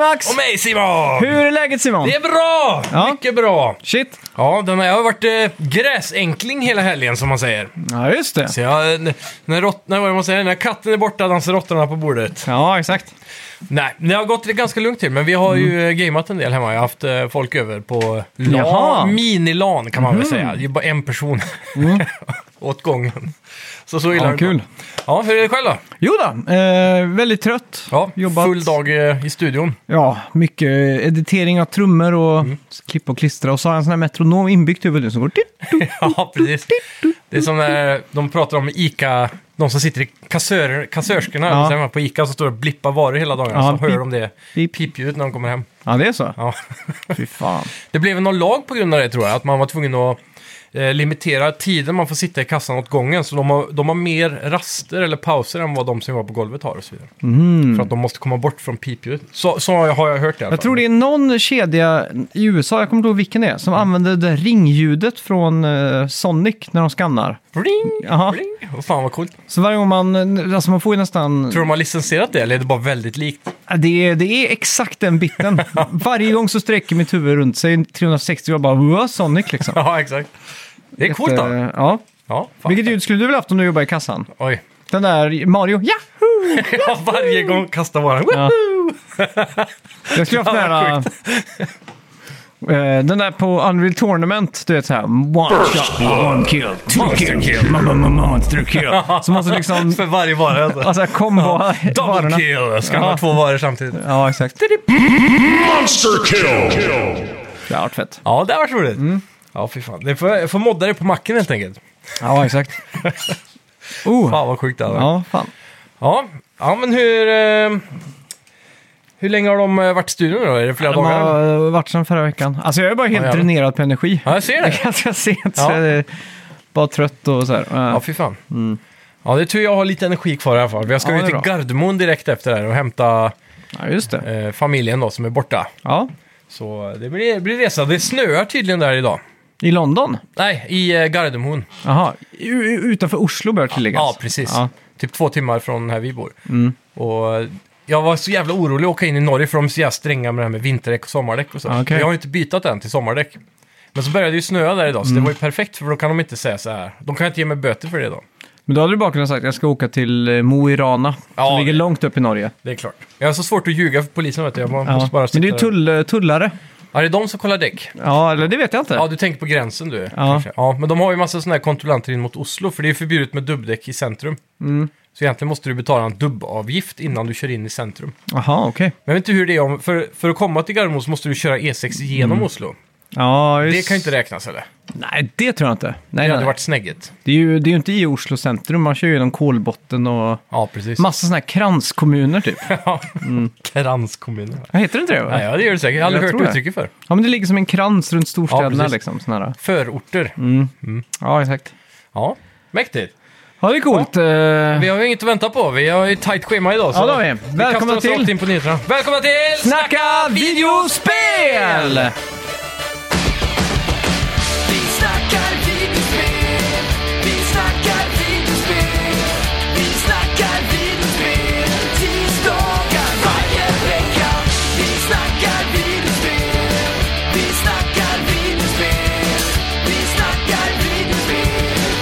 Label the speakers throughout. Speaker 1: Max!
Speaker 2: Och mig Simon!
Speaker 1: Hur är läget Simon?
Speaker 2: Det är bra!
Speaker 1: Ja.
Speaker 2: Mycket bra!
Speaker 1: Shit.
Speaker 2: Ja, den har, jag har varit eh, gräsänkling hela helgen som man säger.
Speaker 1: Ja, just det.
Speaker 2: Så jag, eh, n- när, rått, när, vad man säger, när katten är borta dansar råttorna på bordet.
Speaker 1: Ja, exakt.
Speaker 2: Nej, det har gått ganska lugnt till, men vi har
Speaker 1: Mm.
Speaker 2: ju eh, gameat en del hemma. Jag har haft eh, folk över på
Speaker 1: Jaha. Mm.
Speaker 2: lan, minilan kan man väl säga. Det är bara en person åt gången. Så så illa är
Speaker 1: Ja,
Speaker 2: det då.
Speaker 1: kul.
Speaker 2: Ja, hur är det själv då?
Speaker 1: Jo då, eh, väldigt trött.
Speaker 2: Ja,
Speaker 1: Jobbat.
Speaker 2: full dag eh, i studion.
Speaker 1: Ja, mycket editering av trummor och
Speaker 2: Mm.
Speaker 1: klippa och klistra. Och så har jag en sån här metronom inbyggt i huvudet som går... Dit, do.
Speaker 2: Ja, precis. Det är som när de pratar om ICA, de som sitter i kassör, kassörskorna
Speaker 1: Ja.
Speaker 2: så här, på ICA som står och blippar varor hela dagen.
Speaker 1: Ja,
Speaker 2: så
Speaker 1: pip.
Speaker 2: hör de det
Speaker 1: Pip.
Speaker 2: pipljudet när de kommer hem.
Speaker 1: Ja, det är så.
Speaker 2: Ja.
Speaker 1: Fy fan.
Speaker 2: Det blev någon lag på grund av det tror jag, att man var tvungen att eh, limitera tiden man får sitta i kassan åt gången. Så de har, de har mer raster eller pauser än vad de som var på golvet har och så vidare. För att de måste komma bort från pipljudet. Så, så har jag- har jag hört det i alla
Speaker 1: Mhm. Mm. Jag
Speaker 2: fall.
Speaker 1: tror det är någon kedja i USA, jag kommer inte ihåg vilken det är,
Speaker 2: Mm.
Speaker 1: som använder det där ringljudet från eh, Sonic när de skannar.
Speaker 2: Ring,
Speaker 1: Jaha.
Speaker 2: ring. Vad fan vad coolt.
Speaker 1: Så varje gång man... Alltså man får ju nästan...
Speaker 2: Tror de har licensierat det eller är det bara väldigt likt?
Speaker 1: Ja, Det är, det är exakt den biten. Varje gång så sträcker mitt huvud runt sig 360 och jag bara wow, Sonic liksom.
Speaker 2: Ja, exakt. Det är coolt då.
Speaker 1: Jätte- Ja.
Speaker 2: Ja, fan.
Speaker 1: Vilket ljud skulle du vilja haft om du jobbar i kassan?
Speaker 2: Oj.
Speaker 1: Den där Mario, ja!
Speaker 2: Ja, varje gång kastar våran.
Speaker 1: Ja. Jag skulle haft den här... eh, Den där på Unreal Tournament, du vet så här. One shot, one kill, two kill, mamma, mamma, monster kill. Så måste liksom,
Speaker 2: För varje vara. Alltså.
Speaker 1: alltså kombo
Speaker 2: Double
Speaker 1: varorna.
Speaker 2: kill! Ska man
Speaker 1: Ja.
Speaker 2: ha två varor samtidigt?
Speaker 1: Ja, exakt.
Speaker 3: Monster kill.
Speaker 1: Det har varit fett.
Speaker 2: Ja, det var roligt. Ja, fy fan. Det får, jag får modda det på macken helt enkelt.
Speaker 1: Ja, exakt. Oh,
Speaker 2: Fan vad sjukt det hade varit.
Speaker 1: ja, fan.
Speaker 2: ja. ja, men hur... Eh, hur länge har de eh, varit i studion då? Är det flera
Speaker 1: De
Speaker 2: dagar? eller?
Speaker 1: har varit sedan förra veckan. Alltså jag är bara helt
Speaker 2: Ja, jävlar.
Speaker 1: dränerad på energi.
Speaker 2: Ja, jag ser
Speaker 1: Det är
Speaker 2: det.
Speaker 1: ganska sent, så
Speaker 2: Ja.
Speaker 1: jag är bara trött och så här.
Speaker 2: Ja, fy fan. Ja, det är tur jag har lite energi kvar i alla fall. Jag ska
Speaker 1: Ja,
Speaker 2: ju
Speaker 1: det är
Speaker 2: till
Speaker 1: bra.
Speaker 2: Gardermoen direkt efter det här och hämta
Speaker 1: Ja, just det.
Speaker 2: eh, familjen då som är borta.
Speaker 1: Ja.
Speaker 2: Så eh, det blir, blir resa. Det snöar tydligen där idag.
Speaker 1: I London?
Speaker 2: Nej, i eh, Gardermoen.
Speaker 1: Jaha, U- u- utanför Oslo bör tilläggas.
Speaker 2: Ja, precis.
Speaker 1: Ja. Mm.
Speaker 2: Typ två timmar från här vi bor. Och jag var så jävla orolig att åka in i Norge för de är så jävla stränga med det här med vinterdäck och sommardäck och så.
Speaker 1: Ah, okej.
Speaker 2: Jag har ju inte bytt än till sommardäck. Men så började det ju snöa där idag, så
Speaker 1: Mm.
Speaker 2: det var ju perfekt för då kan de inte säga så här. De kan inte ge mig böter för det då.
Speaker 1: Men då hade du bara kunnat sagt att jag ska åka till eh, Mo i Rana,
Speaker 2: Ja,
Speaker 1: som ligger
Speaker 2: det-
Speaker 1: långt upp i Norge.
Speaker 2: Det är klart. Jag har så svårt att ljuga för polisen vet du. Jag bara,
Speaker 1: Ja.
Speaker 2: måste bara sitta
Speaker 1: Men det är ju
Speaker 2: där.
Speaker 1: tull, tullare.
Speaker 2: Ja, det är de som kollar däck.
Speaker 1: Ja, eller det vet jag inte.
Speaker 2: Ja, du tänker på gränsen du. kanske. ja men de har ju massa sådana här kontrollanter in mot Oslo, för det är ju förbjudet med dubbdäck i centrum.
Speaker 1: Mm.
Speaker 2: Så egentligen måste du betala en dubbavgift innan du kör in i centrum.
Speaker 1: Jaha, okej.
Speaker 2: Men jag vet inte hur det är om, för, för att komma till Gardermoen så måste du köra E6 genom Oslo.
Speaker 1: Ja, just...
Speaker 2: Det kan ju inte räknas eller?
Speaker 1: Mm. Nej, det tror jag inte. Nej,
Speaker 2: Det
Speaker 1: det,
Speaker 2: hade
Speaker 1: nej.
Speaker 2: varit snägget.
Speaker 1: det, är ju, det är ju inte i Oslo centrum, man kör ju genom Kolbotten och
Speaker 2: Ja, precis.
Speaker 1: massa sådana här kranskommuner typ.
Speaker 2: Kranskommunen.
Speaker 1: Ja, Heter det inte det? va?
Speaker 2: Ja, ja, det gör det säkert. Jag har aldrig
Speaker 1: Jag tror
Speaker 2: hört
Speaker 1: det.
Speaker 2: uttrycket för.
Speaker 1: Ja, men det ligger som en krans runt storstäderna
Speaker 2: Ja, precis.
Speaker 1: liksom. Sån här.
Speaker 2: Förorter.
Speaker 1: Mm. Ja, exakt.
Speaker 2: Ja, mäktigt.
Speaker 1: Ja, det är coolt. eh,
Speaker 2: Vi har ju inget att vänta på. Vi har ju ett tajt schema idag. Så
Speaker 1: Ja, det har vi. Välkomna
Speaker 2: kastar oss
Speaker 1: till-
Speaker 2: rakt in på nyheterna. Välkomna till...
Speaker 1: Snacka videospel!
Speaker 4: Vi snackar videospel, vi snackar videospel, vi snackar videospel tisdagar varje vecka. Vi snackar videospel, vi snackar videospel, vi snackar videospel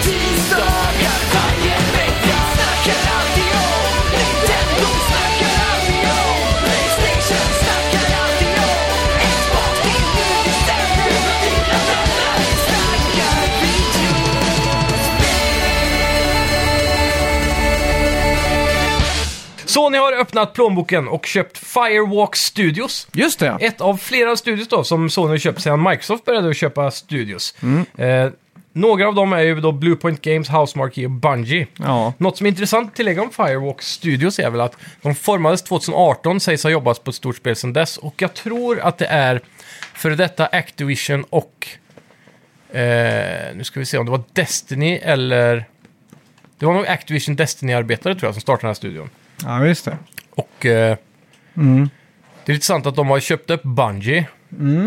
Speaker 4: tisdagar varje vecka. Snackar alltid om Nintendo, snackar alltid om Playstation, snackar alltid om Xbox, det är nu vi sänder, vi laddar, vi snackar video.
Speaker 2: Sony har öppnat plånboken och köpt Firewalk Studios.
Speaker 1: Just det.
Speaker 2: Ett av flera studios då som Sony har köpt sedan Microsoft började att köpa studios.
Speaker 1: Mm.
Speaker 2: Eh, några av dem är ju då Bluepoint Games, Housemarque och Bungie.
Speaker 1: Ja.
Speaker 2: Något som är intressant att tillägga om Firewalk Studios är väl att de formades 2018, sägs ha jobbat på ett stort spel sedan dess. Och jag tror att det är före detta Activision och... Eh, nu ska vi se om det var Destiny eller... Det var nog Activision Destiny-arbetare tror jag som startade den här studion.
Speaker 1: Ja, just det.
Speaker 2: Och eh,
Speaker 1: Mm.
Speaker 2: det är lite sant att de har köpt upp Bungie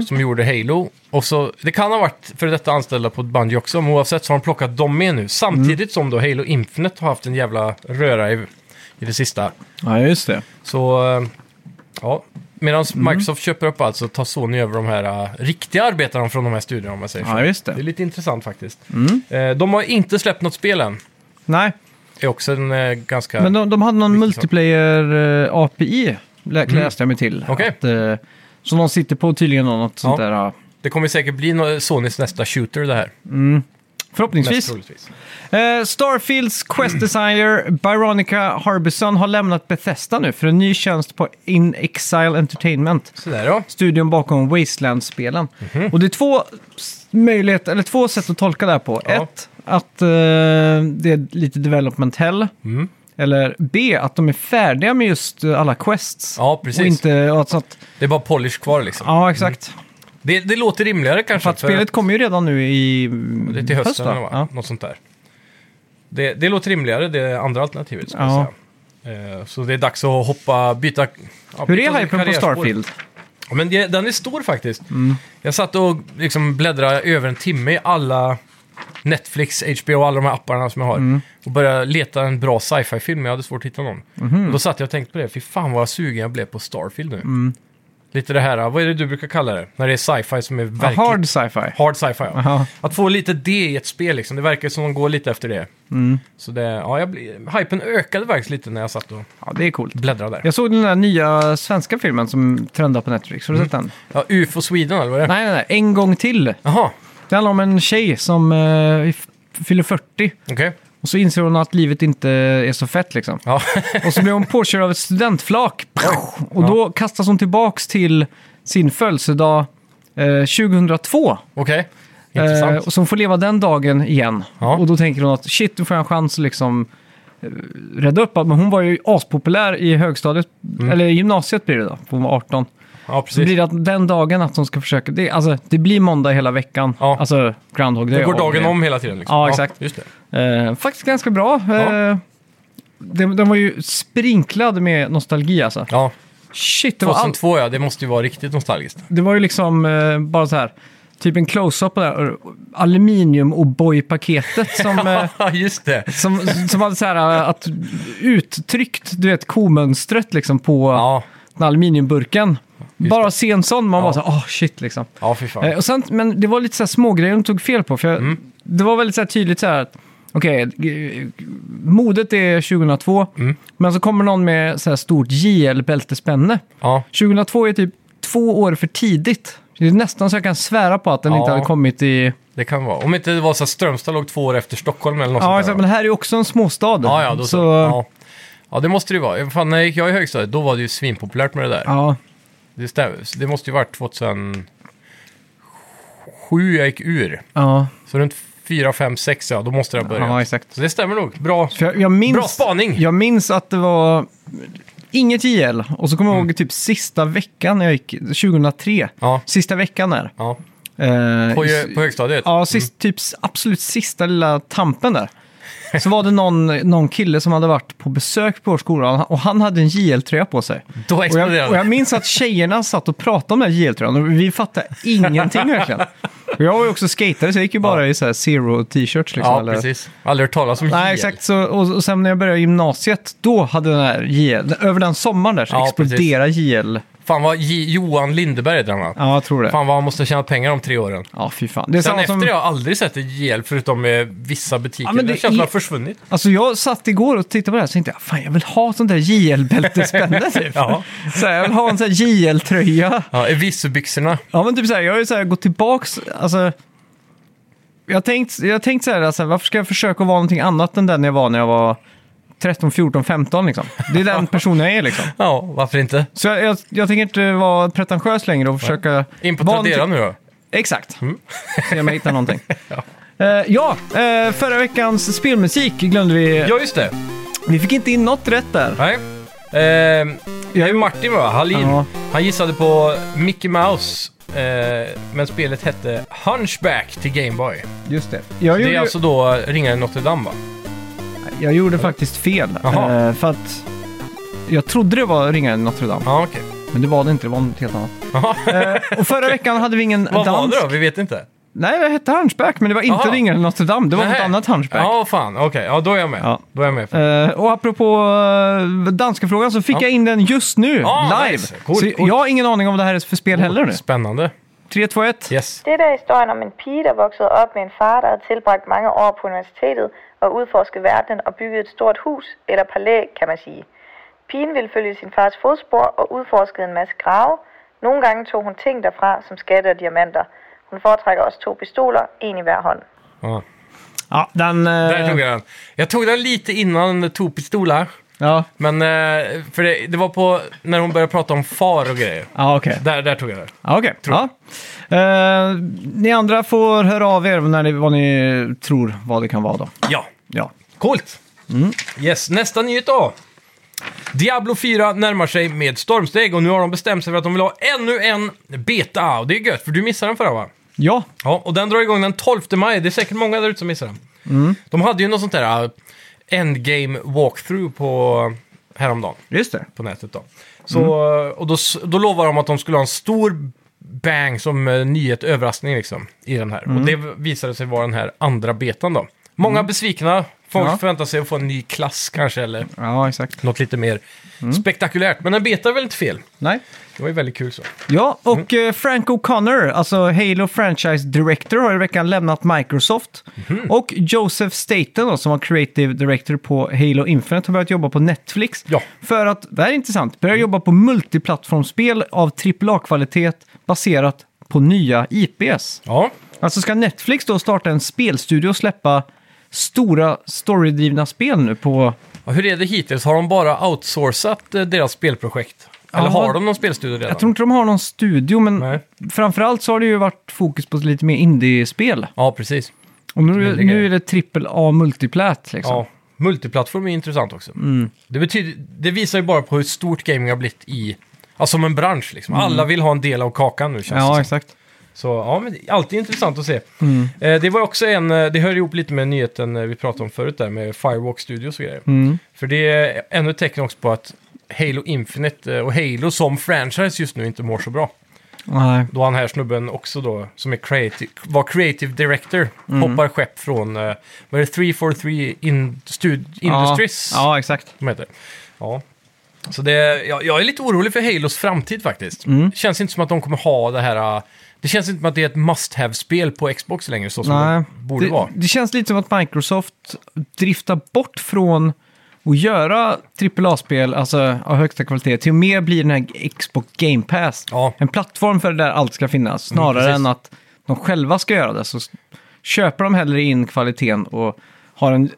Speaker 2: som gjorde Halo. Och så, det kan ha varit för detta anställda på Bungie också, men oavsett så har de plockat dem med nu. Samtidigt
Speaker 1: Mm.
Speaker 2: som då Halo Infinite har haft en jävla röra i, i det sista.
Speaker 1: Ja, just det.
Speaker 2: Så, eh, ja. Medan
Speaker 1: Mm.
Speaker 2: Microsoft köper upp allt så tar Sony över de här eh, riktiga arbetarna från de här studierna om man säger så.
Speaker 1: Ja, Mm. just
Speaker 2: Det är
Speaker 1: det.
Speaker 2: lite intressant faktiskt. Eh, de har inte släppt något spel än.
Speaker 1: Nej,
Speaker 2: Det är också en eh, ganska...
Speaker 1: men de, de hade någon eh,
Speaker 2: Vilken sak?
Speaker 1: multiplayer-API, läste jag mig till.
Speaker 2: Okej.
Speaker 1: Att, eh, som de sitter på tydligen, något sånt
Speaker 2: Ja.
Speaker 1: där. ja.
Speaker 2: Det kommer säkert bli nå- Sonys nästa shooter det här. Mest
Speaker 1: Förhoppningsvis.
Speaker 2: troligtvis.
Speaker 1: Eh, Starfields Quest Designer Byronica Harbison har lämnat Bethesda nu för en ny tjänst på In Exile Entertainment.
Speaker 2: Sådär ja.
Speaker 1: Studion bakom Wasteland-spelen.
Speaker 2: Mhm.
Speaker 1: Och det är två, s- möjlighet, eller två sätt att tolka det här på.
Speaker 2: Ja.
Speaker 1: Ett, att eh, det är lite development hell.
Speaker 2: Mm.
Speaker 1: Eller B, att de är färdiga med just eh, alla quests.
Speaker 2: Ja, precis.
Speaker 1: Och inte, och att, att,
Speaker 2: Det är bara polish kvar liksom.
Speaker 1: ja, exakt.
Speaker 2: Det, det låter rimligare kanske.
Speaker 1: För att spelet kommer ju redan nu i
Speaker 2: det är till hösten
Speaker 1: va?
Speaker 2: eller vad?
Speaker 1: Ja.
Speaker 2: Något sånt där. Det, det låter rimligare, det andra alternativet. Ska
Speaker 1: Ja.
Speaker 2: jag säga. Eh, Så det är dags att hoppa, byta... ja,
Speaker 1: Hur
Speaker 2: byta
Speaker 1: är hypen på
Speaker 2: karriärspår.
Speaker 1: Starfield?
Speaker 2: Ja, Men det, den är stor faktiskt. Jag satt och liksom bläddrade över en timme i alla Netflix, HBO och alla de här apparna som jag har. Och började leta en bra sci-fi-film, men jag hade svårt att hitta någon. Och
Speaker 1: Mhm.
Speaker 2: då satt jag och tänkte på det, fy fan vad sugen jag blev på Starfield nu. Lite det här, vad är det du brukar kalla det? När det är sci-fi som är
Speaker 1: Ja,
Speaker 2: verkligt...
Speaker 1: Hard sci-fi.
Speaker 2: Hard sci-fi,
Speaker 1: Aha.
Speaker 2: ja. Att få lite det i ett spel, liksom. det verkar som de går lite efter det.
Speaker 1: Mm.
Speaker 2: Så det, ja, jag blir, hypen ökade faktiskt lite när jag satt och
Speaker 1: Ja, det är coolt.
Speaker 2: bläddrade där.
Speaker 1: Jag såg den där nya svenska filmen som trendar på Netflix.
Speaker 2: Mm.
Speaker 1: Har du sett den?
Speaker 2: Ja, UFO Sweden, eller vad är det?
Speaker 1: Nej, nej, nej. En gång till.
Speaker 2: Jaha,
Speaker 1: Det handlar om en tjej som eh, f- fyller 40.
Speaker 2: okej.
Speaker 1: Och så inser hon att livet inte är så fett liksom.
Speaker 2: Ja.
Speaker 1: Och så blir hon påkörd av ett studentflak. Och då kastas hon tillbaks till sin födelsedag eh, 2002.
Speaker 2: Okej,
Speaker 1: Eh,
Speaker 2: intressant.
Speaker 1: och så hon får leva den dagen igen.
Speaker 2: Ja.
Speaker 1: Och då tänker hon att shit, nu får jag en chans att liksom eh, rädda upp allt. Men hon var ju aspopulär i högstadiet, eller i gymnasiet blir det då, för hon var 18.
Speaker 2: ja,
Speaker 1: Så
Speaker 2: Mm. precis.
Speaker 1: blir det att den dagen att hon ska försöka, det, alltså, det blir måndag hela veckan.
Speaker 2: Ja.
Speaker 1: Alltså Groundhog Day.
Speaker 2: det går
Speaker 1: och
Speaker 2: dagen
Speaker 1: det.
Speaker 2: om hela tiden. Liksom.
Speaker 1: Ja, exakt.
Speaker 2: just det.
Speaker 1: Eh, faktiskt ganska bra.
Speaker 2: Ja.
Speaker 1: Eh, den, den var ju sprinklad med nostalgi alltså.
Speaker 2: Ja,
Speaker 1: Shit, det var, allt.
Speaker 2: 2002 ja, det måste ju vara riktigt nostalgiskt.
Speaker 1: det var ju liksom eh, bara så här, typ en close-up på det här aluminium och paketet som... eh,
Speaker 2: Ja, just det.
Speaker 1: Som, som hade så här äh, att uttryckt, du vet, komönstret liksom på
Speaker 2: Ja,
Speaker 1: den aluminiumburken. Bara se en sån, man bara
Speaker 2: Ja.
Speaker 1: så här, åh shit liksom.
Speaker 2: ja Mm. fy
Speaker 1: Eh,
Speaker 2: fan.
Speaker 1: Och sen, men det var lite så här smågrejer de tog fel på, för jag, det var väldigt så här tydligt så här att, okej, g- modet är 2002,
Speaker 2: Mm.
Speaker 1: men så kommer någon med så här stort JL-bältespänne.
Speaker 2: Ja,
Speaker 1: 2002 är typ två år för tidigt. Det är nästan så jag kan svära på att den
Speaker 2: Ja.
Speaker 1: inte hade kommit i...
Speaker 2: det kan vara. Om inte det var så att Strömstad låg två år efter Stockholm eller något
Speaker 1: Ja,
Speaker 2: sånt
Speaker 1: exakt, men det här är också en småstad.
Speaker 2: Ja, ja, då så.
Speaker 1: så...
Speaker 2: Ja. ja, det måste det ju vara. Fan, när jag gick jag i högstadiet, då var det ju svinpopulärt med det där.
Speaker 1: ja.
Speaker 2: Det, stämmer. Så det måste ju varit 2007 jag gick ur.
Speaker 1: ja.
Speaker 2: Så runt 4, 5, 6, ja, då måste det ha börjat.
Speaker 1: Ja, exakt.
Speaker 2: Så det stämmer nog. Bra.
Speaker 1: För jag, jag minns,
Speaker 2: Bra spaning!
Speaker 1: Jag minns att det var inget JL. Och så kommer jag ihåg typ sista veckan när jag gick, 2003.
Speaker 2: Mm. Ja.
Speaker 1: Sista veckan där.
Speaker 2: Ja.
Speaker 1: Eh,
Speaker 2: På,
Speaker 1: i-
Speaker 2: på Mm. högstadiet?
Speaker 1: Ja, sist, typ s- absolut sista lilla tampen där. Så var det någon, någon kille som hade varit på besök på vår skola och han hade en JL-tröja på sig.
Speaker 2: Mm. Då
Speaker 1: Och
Speaker 2: exploderade
Speaker 1: jag, och jag minns att tjejerna satt och pratade om den här JL-tröjan och vi fattade ingenting verkligen. Och jag var ju också skatare så jag gick ju bara i så här zero-t-shirts. Liksom,
Speaker 2: Ja,
Speaker 1: eller-
Speaker 2: precis. Aldrig hört talas om
Speaker 1: Nej,
Speaker 2: gel.
Speaker 1: exakt. Så, och, och sen när jag började gymnasiet, då hade den här JL, över den sommaren där så
Speaker 2: Ja,
Speaker 1: exploderade JL.
Speaker 2: Fan vad J- Johan Lindeberg heter han va?
Speaker 1: Ja, jag tror det.
Speaker 2: Fan vad han måste ha tjänat pengar om tre åren.
Speaker 1: Ja, fy fan. Det är
Speaker 2: Sen
Speaker 1: samma
Speaker 2: efter
Speaker 1: som,
Speaker 2: det har jag aldrig sett ett gel förutom eh, vissa butiker.
Speaker 1: Ja, men
Speaker 2: det
Speaker 1: det
Speaker 2: känns som
Speaker 1: är-
Speaker 2: att det har försvunnit.
Speaker 1: Alltså jag satt igår och tittade på det här och tänkte, jag, fan jag vill ha sånt där JL-bältespänne typ.
Speaker 2: Ja.
Speaker 1: så här, jag vill ha en sån här JL-tröja.
Speaker 2: Ja, Evisu-byxorna.
Speaker 1: Ja, men typ så här, jag har ju så här gått tillbaks, alltså. Jag har tänkt, jag har tänkt så här, alltså, varför ska jag försöka vara någonting annat än den jag var när jag var 13, 14, 15 liksom. Det är den personen jag är liksom.
Speaker 2: Ja, varför inte?
Speaker 1: Så jag, jag, jag tänker inte vara pretentiös längre och försöka...
Speaker 2: In på
Speaker 1: vara
Speaker 2: Tradera
Speaker 1: någonting-
Speaker 2: nu Mm. då.
Speaker 1: Exakt. Se om jag hittar någonting. Eh, ja, eh, förra veckans spelmusik glömde vi.
Speaker 2: Ja, just det.
Speaker 1: Vi fick inte in något rätt där.
Speaker 2: Nej. Ehm, det är ju Martin va? Hallin.
Speaker 1: Ja.
Speaker 2: Han gissade på Mickey Mouse. eh, men spelet hette Hunchback till Gameboy.
Speaker 1: Just det. Jag
Speaker 2: Det
Speaker 1: gjorde,
Speaker 2: är alltså då Ringaren i Notre Dame va?
Speaker 1: jag gjorde faktiskt fel.
Speaker 2: Jaha.
Speaker 1: Eh, för att jag trodde det var Ringaren i Notre Dame,
Speaker 2: Ja, okej.
Speaker 1: men det var det inte. Det var något helt annat.
Speaker 2: Jaha.
Speaker 1: Eh, och förra veckan hade vi ingen
Speaker 2: Vad var
Speaker 1: dans.
Speaker 2: det då? Vi vet inte.
Speaker 1: Nej, det hette Hunchback, men det var inte
Speaker 2: Aha.
Speaker 1: Ringaren i Notre Dame. Det var
Speaker 2: Nähä.
Speaker 1: något annat Hunchback.
Speaker 2: Ja, fan. Okej, ja, då är jag med.
Speaker 1: Ja.
Speaker 2: Då är jag med.
Speaker 1: Eh, och apropå uh, danska frågan så fick jag in den just nu,
Speaker 2: Ah,
Speaker 1: live.
Speaker 2: nice. Coolt,
Speaker 1: så
Speaker 2: coolt.
Speaker 1: jag har ingen aning om vad det här är för spel heller nu.
Speaker 2: Spännande.
Speaker 1: 3, 2, 1.
Speaker 2: Yes.
Speaker 5: Det der er historien om en pige, der voksede op med en far, der havde tilbragt mange år på universitetet og udforsket verden og bygget et stort hus, eller palæ, kan man sige. Pigen ville følge sin fars fodspor og udforskede en masse grave. Nogle gange tog hun ting derfra, som skatte og diamanter. Hun foretrækker også to pistoler, en i hver hånd.
Speaker 2: Ja.
Speaker 1: Ja, den... eh,
Speaker 2: Där tog jag den. Jag tog den lite innan Topistola.
Speaker 1: Ja,
Speaker 2: Men, eh, för det, det var på när hon började prata om far och grejer.
Speaker 1: ja okej.
Speaker 2: Där, där tog jag den.
Speaker 1: Ja, okej. Ja. Eh, ni andra får höra av er när ni, vad ni tror vad det kan vara då.
Speaker 2: Ja.
Speaker 1: Ja.
Speaker 2: Coolt!
Speaker 1: Mm.
Speaker 2: Yes, nästa nyhet då. Diablo 4 närmar sig med stormsteg och nu har de bestämt sig för att de vill ha ännu en beta. Och det är gött, för du missade den förra va?
Speaker 1: Ja,
Speaker 2: Ja, och den drar igång den 12 maj. Det är säkert många där ute som missar den. De hade ju något sånt där äh, endgame walkthrough på häromdagen
Speaker 1: just det.
Speaker 2: på nätet då. Så, Och då, s- då lovade de att de skulle ha en stor bang som eh, nyhet, överraskning liksom, i den här. Och det visade sig vara den här andra betan då. Många besvikna, folk
Speaker 1: Ja.
Speaker 2: förväntar sig att få en ny klass kanske, eller
Speaker 1: Ja, exakt.
Speaker 2: något lite mer spektakulärt. Men en beta är väl inte fel?
Speaker 1: Nej.
Speaker 2: Det var ju väldigt kul så.
Speaker 1: Ja, och eh, Frank O'Connor, alltså Halo Franchise Director, har i veckan lämnat Microsoft. Och Joseph Staten, då, som var Creative Director på Halo Infinite, har börjat jobba på Netflix.
Speaker 2: Ja.
Speaker 1: För att, det här är intressant, börja jobba på multiplattformsspel av AAA-kvalitet baserat på nya IPs.
Speaker 2: Ja,
Speaker 1: Alltså ska Netflix då starta en spelstudio och släppa stora storydrivna spel nu på...
Speaker 2: och hur är det hittills? Har de bara outsourcat eh, deras spelprojekt? Eller
Speaker 1: Ja,
Speaker 2: har de någon spelstudio redan?
Speaker 1: Jag tror inte de har någon studio, men
Speaker 2: Nej.
Speaker 1: framförallt så har det ju varit fokus på lite mer indie-spel.
Speaker 2: Ja, precis.
Speaker 1: Och nu,
Speaker 2: Väldigt
Speaker 1: nu är det trippel A multiplät liksom.
Speaker 2: Ja, multiplattform är intressant också.
Speaker 1: Mm.
Speaker 2: Det, betyder, det visar ju bara på hur stort gaming har blivit i, alltså som en bransch liksom. Alla vill ha en del av kakan nu känns det
Speaker 1: Mm. Ja, Mm.
Speaker 2: som.
Speaker 1: exakt.
Speaker 2: Så ja, men det är alltid intressant att se. Eh, det var också en, eh, det hör ihop lite med nyheten eh, vi pratade om förut där med Firewalk Studios och grejer.
Speaker 1: Mm.
Speaker 2: För det är ännu ett tecken också på att Halo Infinite eh, och Halo som franchise just nu inte mår så bra.
Speaker 1: Nej.
Speaker 2: Då han här snubben också då, som är creative, var creative director,
Speaker 1: Mm.
Speaker 2: hoppar skepp från, eh, vad är det, 343 in, stud, Industries?
Speaker 1: Ja, ja exakt.
Speaker 2: de heter. Ja. Så det, jag, jag är lite orolig för Halos framtid faktiskt.
Speaker 1: Mm.
Speaker 2: Det känns inte som att de kommer ha det här... äh, Det känns inte som att det är ett must-have-spel på Xbox längre, så som
Speaker 1: Nej.
Speaker 2: det borde vara.
Speaker 1: det känns lite som att Microsoft driftar bort från att göra AAA-spel, alltså av högsta kvalitet, till att mer bli den här Xbox Game Pass.
Speaker 2: Ja. Mm,
Speaker 1: En plattform för det där allt ska finnas, snarare
Speaker 2: precis.
Speaker 1: än att de själva ska göra det. Så s- köper de hellre in kvaliteten och har en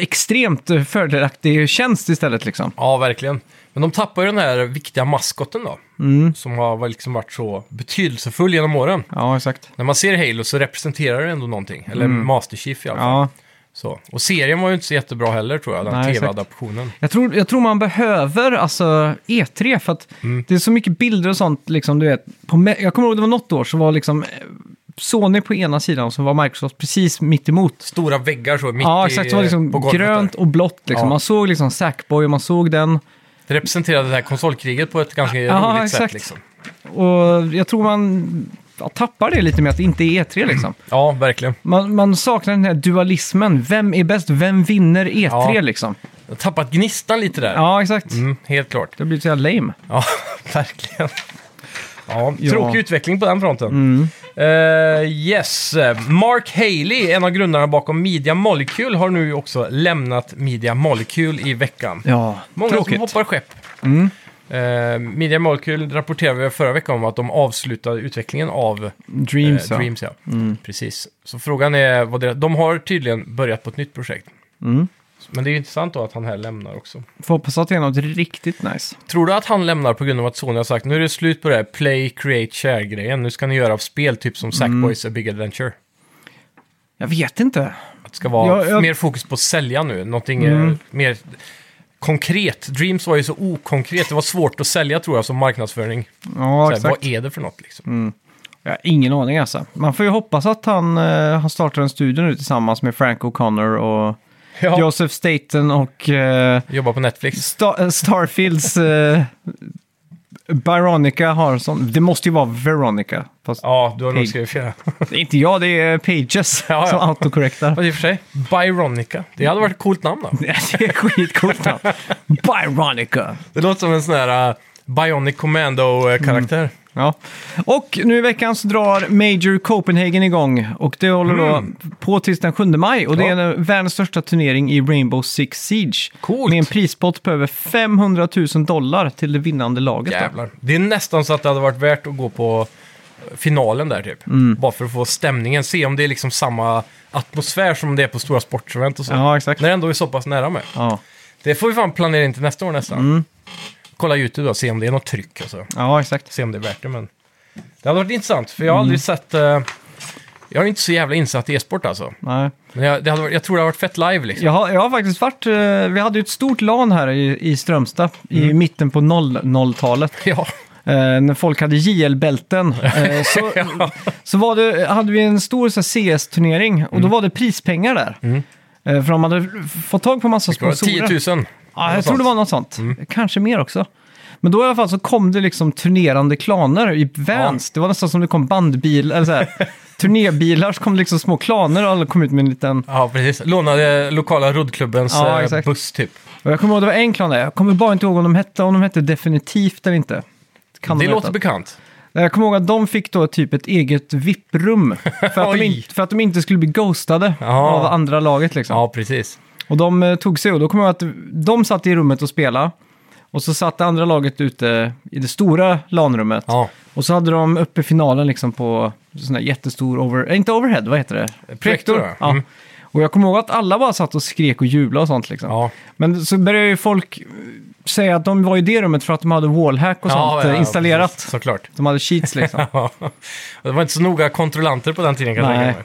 Speaker 1: extremt eh, fördelaktig tjänst istället liksom.
Speaker 2: Ja, verkligen. Men de tappar ju den här viktiga maskotten då,
Speaker 1: Mm.
Speaker 2: som har liksom varit så betydelsefull genom åren.
Speaker 1: Ja, exakt.
Speaker 2: När man ser Halo så representerar det ändå någonting, eller Master Chief i alla fall.
Speaker 1: Mm. Ja.
Speaker 2: Så. Och serien var ju inte så jättebra heller tror jag, den
Speaker 1: Nej, exakt.
Speaker 2: tv-adaptionen.
Speaker 1: Jag tror, jag tror man behöver alltså, E3 för att
Speaker 2: Mm.
Speaker 1: det är så mycket bilder och sånt. Liksom, du vet, på, mä- jag kommer ihåg det var något år så var liksom eh, Sony på ena sidan och så var Microsoft precis mitt emot.
Speaker 2: Stora väggar så, mitt
Speaker 1: ja,
Speaker 2: i,
Speaker 1: exakt. Det
Speaker 2: eh, på
Speaker 1: var liksom
Speaker 2: golvet där.
Speaker 1: grönt och blått. Liksom.
Speaker 2: Ja.
Speaker 1: Man såg liksom Sackboy och man såg den.
Speaker 2: Det representerade det här konsolkriget på ett ganska
Speaker 1: Ja,
Speaker 2: roligt sätt
Speaker 1: exakt.
Speaker 2: liksom.
Speaker 1: Och jag tror man ja, tappar det lite med att det inte är
Speaker 2: Mm.
Speaker 1: E3 liksom.
Speaker 2: Ja, verkligen.
Speaker 1: Man, man saknar den här dualismen. Vem är bäst? Vem vinner E3
Speaker 2: Ja.
Speaker 1: liksom?
Speaker 2: Jag har tappat gnistan lite där.
Speaker 1: Ja, exakt.
Speaker 2: Mm, helt klart.
Speaker 1: Det har blivit så jävla lame.
Speaker 2: Ja, verkligen. Ja,
Speaker 1: Ja. Mm.
Speaker 2: Tråkig utveckling på den fronten. Eh, yes, Mark Haley, en av grundarna bakom Media Molecule, har nu också lämnat Media Molecule i veckan.
Speaker 1: Ja,
Speaker 2: Många
Speaker 1: tråkigt. Mm.
Speaker 2: som hoppar skepp. Eh, Media Molecule rapporterade vi förra veckan om att de avslutade utvecklingen av eh,
Speaker 1: Dreams, ja. Mm.
Speaker 2: Dreams ja. Precis. Så frågan är vad det, De har tydligen börjat på ett nytt projekt.
Speaker 1: Mm.
Speaker 2: Men det är ju intressant då att han här lämnar också.
Speaker 1: Får hoppas att det är något riktigt nice.
Speaker 2: Tror du att han lämnar på grund av att Sony har sagt nu är det slut på det här play, create, share-grejen. Nu ska ni göra spel typ som Sackboys A
Speaker 1: Mm.
Speaker 2: Big Adventure.
Speaker 1: Jag vet inte.
Speaker 2: Att det ska vara
Speaker 1: Ja, jag- Mm.
Speaker 2: mer fokus på att sälja nu. Någonting eh, mer konkret. Dreams var ju så okonkret. Det var svårt att sälja tror jag som marknadsföring.
Speaker 1: Ja,
Speaker 2: Så här,
Speaker 1: exakt. Mm.
Speaker 2: vad är det för något liksom?
Speaker 1: Jag har ingen aning alltså. Man får ju hoppas att han, eh, han startar en studio nu tillsammans med Frank O'Connor och
Speaker 2: Ja,
Speaker 1: Joseph Staten och eh,
Speaker 2: Jobba på Netflix.
Speaker 1: Sta- eh, Starfields eh, Byronica har sån, det måste ju vara Veronica. Fast
Speaker 2: Ja, du har nog
Speaker 1: Pig.
Speaker 2: skrivit fel.
Speaker 1: det är inte jag, det är Pages
Speaker 2: Ja, ja.
Speaker 1: som autokorrektar.
Speaker 2: Fast i och för sig, Byronica. Det hade varit ett coolt namn då.
Speaker 1: det är skitcoolt namn. Byronica.
Speaker 2: Det låter som en sån här eh, Bionic Commando-karaktär.
Speaker 1: Ja. Och nu i veckan så drar Major Copenhagen igång och det håller
Speaker 2: Mm.
Speaker 1: då på tills den 7 maj och det är en- världens största turnering i Rainbow Six Siege.
Speaker 2: Coolt.
Speaker 1: Med en prispott på över 500 000 dollar till det vinnande laget. då.
Speaker 2: Jävlar. Det är nästan så att det hade varit värt att gå på finalen där typ.
Speaker 1: Mm.
Speaker 2: Bara för att få stämningen, se om det är liksom samma atmosfär som det är på stora sportsevent och så.
Speaker 1: Ja, exakt.
Speaker 2: När det ändå är så pass nära med.
Speaker 1: Ja.
Speaker 2: Det får vi fan planera in till nästa år nästan.
Speaker 1: Mm.
Speaker 2: Kolla YouTube då, se om det är något tryck alltså.
Speaker 1: ja, exakt.
Speaker 2: Se om det är värt det, men... Det hade varit intressant, för jag har
Speaker 1: Mm.
Speaker 2: aldrig sett... eh, Jag är inte så jävla insatt i e-sport alltså.
Speaker 1: Nej.
Speaker 2: Men jag, det hade, varit- jag tror det hade varit fett live liksom.
Speaker 1: Jag, har, jag har faktiskt varit, eh, vi hade ju ett stort LAN här i, i Strömstad
Speaker 2: Mm.
Speaker 1: i mitten på 00-talet.
Speaker 2: Ja.
Speaker 1: Eh, när folk hade JL-bälten. Eh, så så var det, hade vi en stor så här CS-turnering och då
Speaker 2: Mm.
Speaker 1: var det prispengar där. Eh, för de hade f- fått tag på massa
Speaker 2: Det var
Speaker 1: sponsorer.
Speaker 2: 10 000.
Speaker 1: Ja, jag
Speaker 2: Något sånt.
Speaker 1: tror det
Speaker 2: Mm.
Speaker 1: var något sånt. Kanske mer också. Men då i alla fall så kom det liksom turnerande klaner i vans. Det var nästan som det kom bandbil, eller så här, turnébilar så kom det liksom små klaner och alla kom ut med en liten...
Speaker 2: Ja, precis. Lånade lokala roddklubbens
Speaker 1: Ja,
Speaker 2: eh,
Speaker 1: exakt.
Speaker 2: buss typ.
Speaker 1: Och jag kommer ihåg det var en klan där, jag kommer bara inte ihåg om de hette, om de hette definitivt eller inte. Kan
Speaker 2: Det
Speaker 1: de
Speaker 2: låter
Speaker 1: heta.
Speaker 2: bekant.
Speaker 1: Jag kommer ihåg att de fick då typ ett eget VIP-rum för, att de
Speaker 2: Oj.
Speaker 1: in- för att de inte skulle bli ghostade
Speaker 2: Ja.
Speaker 1: av andra laget. Liksom.
Speaker 2: Ja, precis.
Speaker 1: Och de eh, tog sig och då kommer jag ihåg att de satt i rummet och spelade. Och så satt det andra laget ute i det stora LAN-rummet.
Speaker 2: Ja.
Speaker 1: Och så hade de uppe finalen liksom på sån här jättestor over... eh, Inte overhead, vad heter det?
Speaker 2: Projektor, ja.
Speaker 1: ja.
Speaker 2: Mm.
Speaker 1: Och jag kommer ihåg att alla bara satt och skrek och jublade och sånt liksom.
Speaker 2: Ja.
Speaker 1: Men så började ju folk eh, säga att de var i det rummet för att de hade wallhack och sånt eh, installerat.
Speaker 2: precis. såklart.
Speaker 1: De hade cheats liksom.
Speaker 2: Ja. Det var inte så noga kontrollanter på den tiden kan jag
Speaker 1: Nej.
Speaker 2: tänka mig.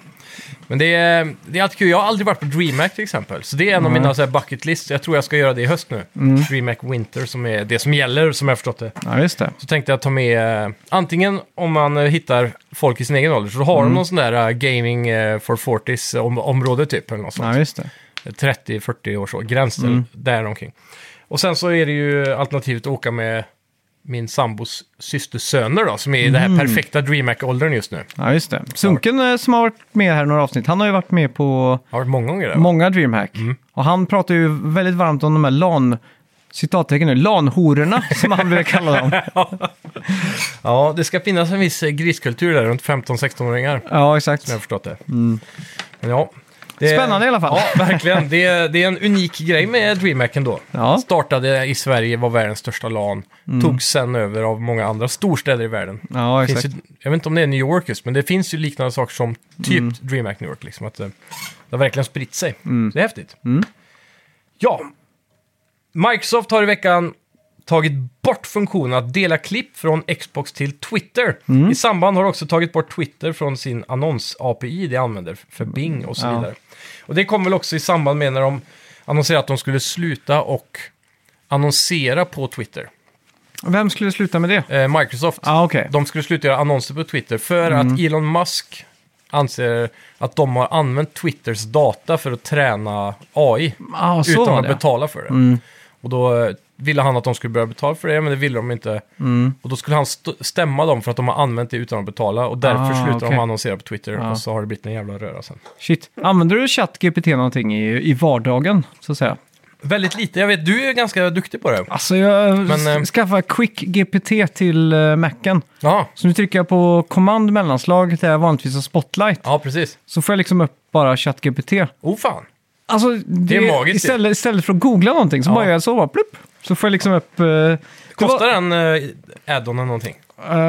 Speaker 2: Men det är, det är alltid kul. Jag har aldrig varit på DreamHack till exempel. Så det är en av mina så här, bucket list. Jag tror jag ska göra det i höst nu. DreamHack Winter som är det som gäller, som jag har förstått det.
Speaker 1: ja, just det.
Speaker 2: Så tänkte jag ta med, eh, antingen om man eh, hittar folk i sin egen ålder, så har de någon sån där eh, gaming eh, for 40s om, område typ, eller något sånt.
Speaker 1: Ja, just det.
Speaker 2: 30-40 års gräns mm. däromkring. Och sen så är det ju alternativet att åka med min sambos systersöner då, som är i den
Speaker 1: Mm.
Speaker 2: här perfekta DreamHack-åldern just nu.
Speaker 1: Ja, just det. Sunken eh, som har varit med här i några avsnitt, han har ju varit med på
Speaker 2: Har varit många gånger där. va?
Speaker 1: många DreamHack. Och han pratar ju väldigt varmt om de här LAN, citattecken nu, LAN-hororna som han brukar kalla dem.
Speaker 2: ja, det ska finnas en viss eh, griskultur där runt 15-16-åringar, som
Speaker 1: Ja, exakt.
Speaker 2: jag har förstått det. Men ja. det-
Speaker 1: Mm. Spännande i alla fall.
Speaker 2: Ja, verkligen. Det är, det är en unik grej med DreamHack ändå.
Speaker 1: Ja. Mm.
Speaker 2: Startade i Sverige, var världens största LAN. Togs sen över av många andra storstäder i världen.
Speaker 1: Ja,
Speaker 2: Det
Speaker 1: exakt.
Speaker 2: Finns ju, jag vet inte om det är New York just, men det finns ju liknande saker som typ
Speaker 1: Mm.
Speaker 2: DreamHack New York. Liksom, att eh, det har verkligen spritt sig. Så det är häftigt.
Speaker 1: Mm.
Speaker 2: Ja, Microsoft har i veckan tagit bort funktionen att dela klipp från Xbox till Twitter.
Speaker 1: Mm.
Speaker 2: I samband har de också tagit bort Twitter från sin annons-API det använder för Bing och så
Speaker 1: Ja.
Speaker 2: vidare. Och det kom väl också i samband med när de annonserade att de skulle sluta och annonsera på Twitter.
Speaker 1: Vem skulle sluta med det?
Speaker 2: Eh, Microsoft.
Speaker 1: Ja, Ah, okej. Mm.
Speaker 2: De skulle sluta göra annonser på Twitter för att Elon Musk anser att de har använt Twitters data för att träna AI
Speaker 1: Ah, så
Speaker 2: utan
Speaker 1: var
Speaker 2: att
Speaker 1: det. Mm.
Speaker 2: betala för det. Och då eh, ville han att de skulle börja betala för det, men det ville de inte.
Speaker 1: Mm.
Speaker 2: Och då skulle han st- stämma dem för att de har använt det utan att betala och därför
Speaker 1: Ah,
Speaker 2: slutar de
Speaker 1: okej. Ah.
Speaker 2: annonsera på Twitter och så har det blivit en jävla röra sen.
Speaker 1: Shit. Använder du ChatGPT någonting i, i vardagen, så att säga?
Speaker 2: Väldigt lite, jag vet du är ganska duktig på det.
Speaker 1: Alltså, jag
Speaker 2: Men, eh,
Speaker 1: Men, skaffade QuickGPT till eh, Macen.
Speaker 2: Ja,
Speaker 1: Så nu trycker jag på command mellanslag där jag vanligtvis har spotlight.
Speaker 2: ja precis.
Speaker 1: Så får jag liksom upp bara ChatGPT.
Speaker 2: Oh fan.
Speaker 1: Alltså, det,
Speaker 2: är magiskt,
Speaker 1: Istället, istället för att googla någonting så
Speaker 2: Ja.
Speaker 1: bara gör jag så, bara plupp. Så får jag liksom upp... eh, det
Speaker 2: Kostar
Speaker 1: var-
Speaker 2: den eh, add-on eller någonting?
Speaker 1: Eh,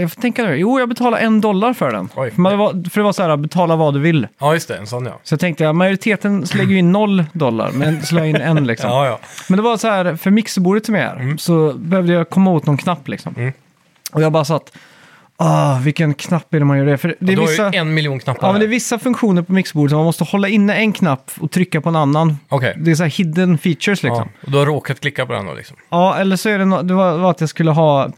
Speaker 1: jag får tänka nu. Jo, jag betalade en dollar för den.
Speaker 2: Oj.
Speaker 1: För, man, det var, för det var så här, betala vad du vill.
Speaker 2: Ja, just det, en sån ja.
Speaker 1: Så jag tänkte, ja, majoriteten slänger ju in noll dollar, men slår jag in en liksom.
Speaker 2: Ja, Mm. ja.
Speaker 1: Men det var så här, för mixerbordet som är här, så behövde jag komma åt någon knapp liksom.
Speaker 2: Mm.
Speaker 1: Och jag bara satt, ah, vilken knapp är det man gör det? För det är
Speaker 2: du
Speaker 1: vissa...
Speaker 2: har ju en miljon knappar.
Speaker 1: Ja, men det är
Speaker 2: här.
Speaker 1: vissa funktioner på mixerbordet som man måste hålla inne en knapp och trycka på en annan.
Speaker 2: Okej.
Speaker 1: Det är så här hidden features liksom.
Speaker 2: Ja, och du har råkat klicka på den då liksom.
Speaker 1: Ja, eller så är det, nå- det var, var att jag skulle ha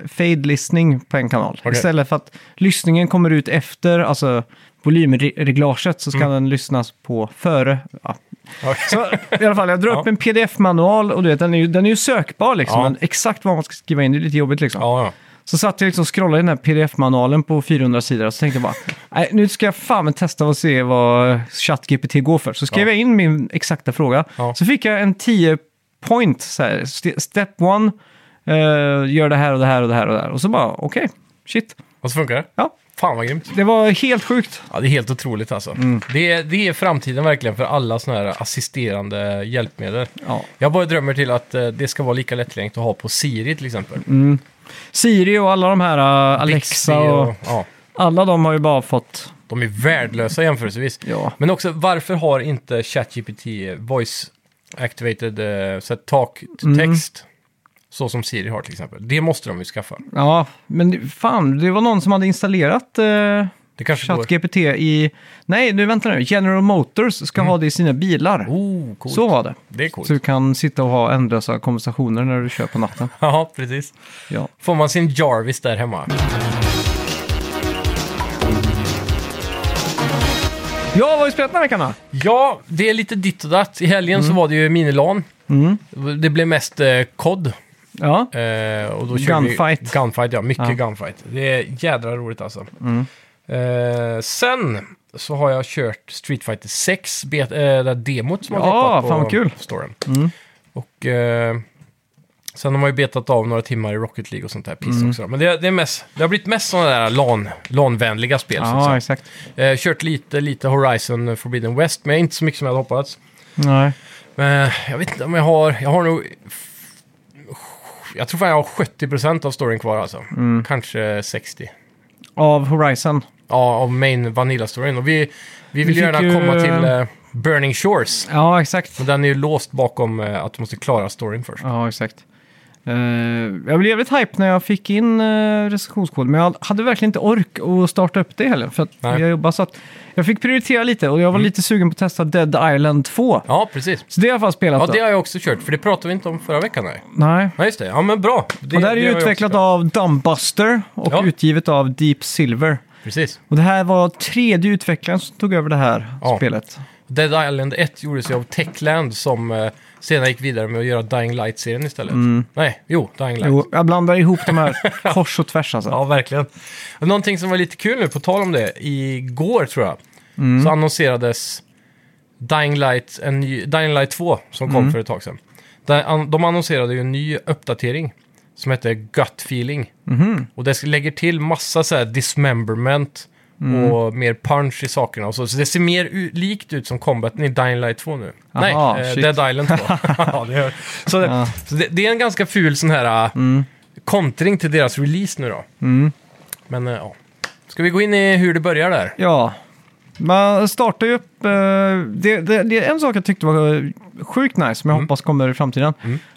Speaker 1: pre-fade-listning på en kanal.
Speaker 2: Okej.
Speaker 1: Istället för att lyssningen kommer
Speaker 2: Mm.
Speaker 1: ut efter, alltså volymreglaget, så ska den lyssnas på före. Ja. Så, I alla fall, jag drar upp en pdf-manual och du vet, den är ju, den är ju sökbar liksom.
Speaker 2: Ja.
Speaker 1: Men exakt vad man ska skriva in, det är lite jobbigt liksom.
Speaker 2: Ja, ja.
Speaker 1: Så satt jag liksom och scrollade i den här pdf-manualen på 400 sidor och så tänkte jag bara, nej nu ska jag fan testa och se vad ChatGPT går för. Så skrev jag in min exakta fråga.
Speaker 2: Ja.
Speaker 1: Så fick jag en 10 point, så här, st- step one, eh, gör det här och det här och det här och det här. Och så bara, okej, shit.
Speaker 2: Och så funkar det.
Speaker 1: Ja,
Speaker 2: Fan vad grymt.
Speaker 1: det var helt sjukt.
Speaker 2: Ja, det är helt otroligt alltså. Det, är, det är framtiden verkligen för alla sådana här assisterande hjälpmedel.
Speaker 1: Ja.
Speaker 2: Jag bara drömmer till att eh, det ska vara lika lättillgängligt att ha på Siri till exempel.
Speaker 1: Siri och alla de här, eh,
Speaker 2: Bixby
Speaker 1: Alexa och
Speaker 2: ja,
Speaker 1: alla de har ju bara fått,
Speaker 2: de är värdelösa jämförelsevis.
Speaker 1: ja.
Speaker 2: Men också, varför har inte ChatGPT voice activated eh, så här, talk to text? Så som Siri har till exempel. Det måste de ju skaffa.
Speaker 1: Ja, men fan, det var någon som hade installerat eh,
Speaker 2: Det kanske går.
Speaker 1: ChatGPT i... Nej, nu vänta nu. General Motors ska ha det i sina bilar.
Speaker 2: Mm. Oh, coolt.
Speaker 1: Så var det.
Speaker 2: Det är coolt.
Speaker 1: Så du kan sitta och ha ändlösa konversationer när du kör på natten.
Speaker 2: Ja, precis.
Speaker 1: Ja.
Speaker 2: Får man sin Jarvis där hemma?
Speaker 1: Jag har ju spelat den här veckan då?
Speaker 2: Ja, det är lite ditt och datt. I helgen
Speaker 1: Mm.
Speaker 2: så var det ju minilan. Det blev mest eh, COD.
Speaker 1: Ja.
Speaker 2: Eh, och då körde Vi,
Speaker 1: Gunfight.
Speaker 2: gunfight, ja. Mycket
Speaker 1: Ja. Mm.
Speaker 2: gunfight. Det är jädra roligt alltså. Eh, sen så har jag kört Street Fighter 6, bet, eh, det där demot som har
Speaker 1: Ja,
Speaker 2: droppat på
Speaker 1: fan vad kul. Mm.
Speaker 2: storen. Och eh, sen har man ju betat av några timmar i Rocket League och sånt där piss
Speaker 1: Mm.
Speaker 2: också. då. Men det, det, är mest, det har blivit mest sådana där LAN, LAN-vänliga spel. så att
Speaker 1: Ja,
Speaker 2: säga.
Speaker 1: exakt.
Speaker 2: Eh, kört lite, lite Horizon Forbidden West, men inte så mycket som jag hade hoppats.
Speaker 1: Nej.
Speaker 2: Men jag vet inte om jag har... Jag har nog... Jag tror fan jag har 70% av storyn kvar alltså.
Speaker 1: Mm.
Speaker 2: Kanske 60%.
Speaker 1: Av Horizon.
Speaker 2: Ja, av main Vanilla-storyn. Och vi, vi vill
Speaker 1: fick
Speaker 2: gärna
Speaker 1: ju,
Speaker 2: komma till
Speaker 1: eh,
Speaker 2: eh, Burning Shores.
Speaker 1: Ja, exakt.
Speaker 2: Men den är ju låst bakom eh, att du måste klara storyn först.
Speaker 1: Ja, exakt. Eh, jag blev jävligt hype när jag fick in uh, recensionskoden, men jag hade verkligen inte ork att starta upp det heller. För att
Speaker 2: Nej. Mm.
Speaker 1: jag jobbar så att jag fick prioritera lite och jag var lite sugen på att testa Dead Island 2.
Speaker 2: Ja, precis.
Speaker 1: Så det har jag i alla fall spelat.
Speaker 2: Ja,
Speaker 1: då.
Speaker 2: det har jag också kört, för det pratade vi inte om förra veckan. Nej,
Speaker 1: Nej.
Speaker 2: ja, just det. Ja, men bra. Det,
Speaker 1: och det här
Speaker 2: det
Speaker 1: är
Speaker 2: har
Speaker 1: ju
Speaker 2: jag också
Speaker 1: utvecklat
Speaker 2: kört.
Speaker 1: av Dumbbuster och
Speaker 2: Ja.
Speaker 1: utgivet av Deep Silver.
Speaker 2: Precis.
Speaker 1: Och det här var tredje utvecklaren som tog över det här
Speaker 2: Ja.
Speaker 1: spelet.
Speaker 2: Dead Island 1 gjordes ju av Techland som eh, senare gick vidare med att göra Dying Light-serien istället. Nej, Mm. jo, Dying Light.
Speaker 1: Jo, jag blandar ihop de här kors och tvärs alltså.
Speaker 2: Ja, verkligen. Och Någonting som var lite kul nu, på tal om det, igår tror jag, så annonserades Dying Light, en ny, Dying Light 2 som kom
Speaker 1: Mm.
Speaker 2: för ett tag sedan. Där an- De annonserade ju en ny uppdatering som heter Gut Feeling.
Speaker 1: Mhm.
Speaker 2: Och det lägger till massa så här dismemberment
Speaker 1: Mm.
Speaker 2: och mer punch i sakerna och så. Så det ser mer u- likt ut som combaten i Dying Light 2 nu.
Speaker 1: Aha,
Speaker 2: Nej,
Speaker 1: shit.
Speaker 2: eh, Dead Island 2. ja, det gör. Så, det,
Speaker 1: Ja. Mm.
Speaker 2: så det, det är en ganska ful sån här eh, kontring till deras release nu då. Men eh, ja. Ska vi gå in i hur det börjar där?
Speaker 1: Ja, man startar ju upp... eh, Det, det, det är en sak jag tyckte var sjukt nice, som jag
Speaker 2: Mm.
Speaker 1: hoppas kommer i framtiden.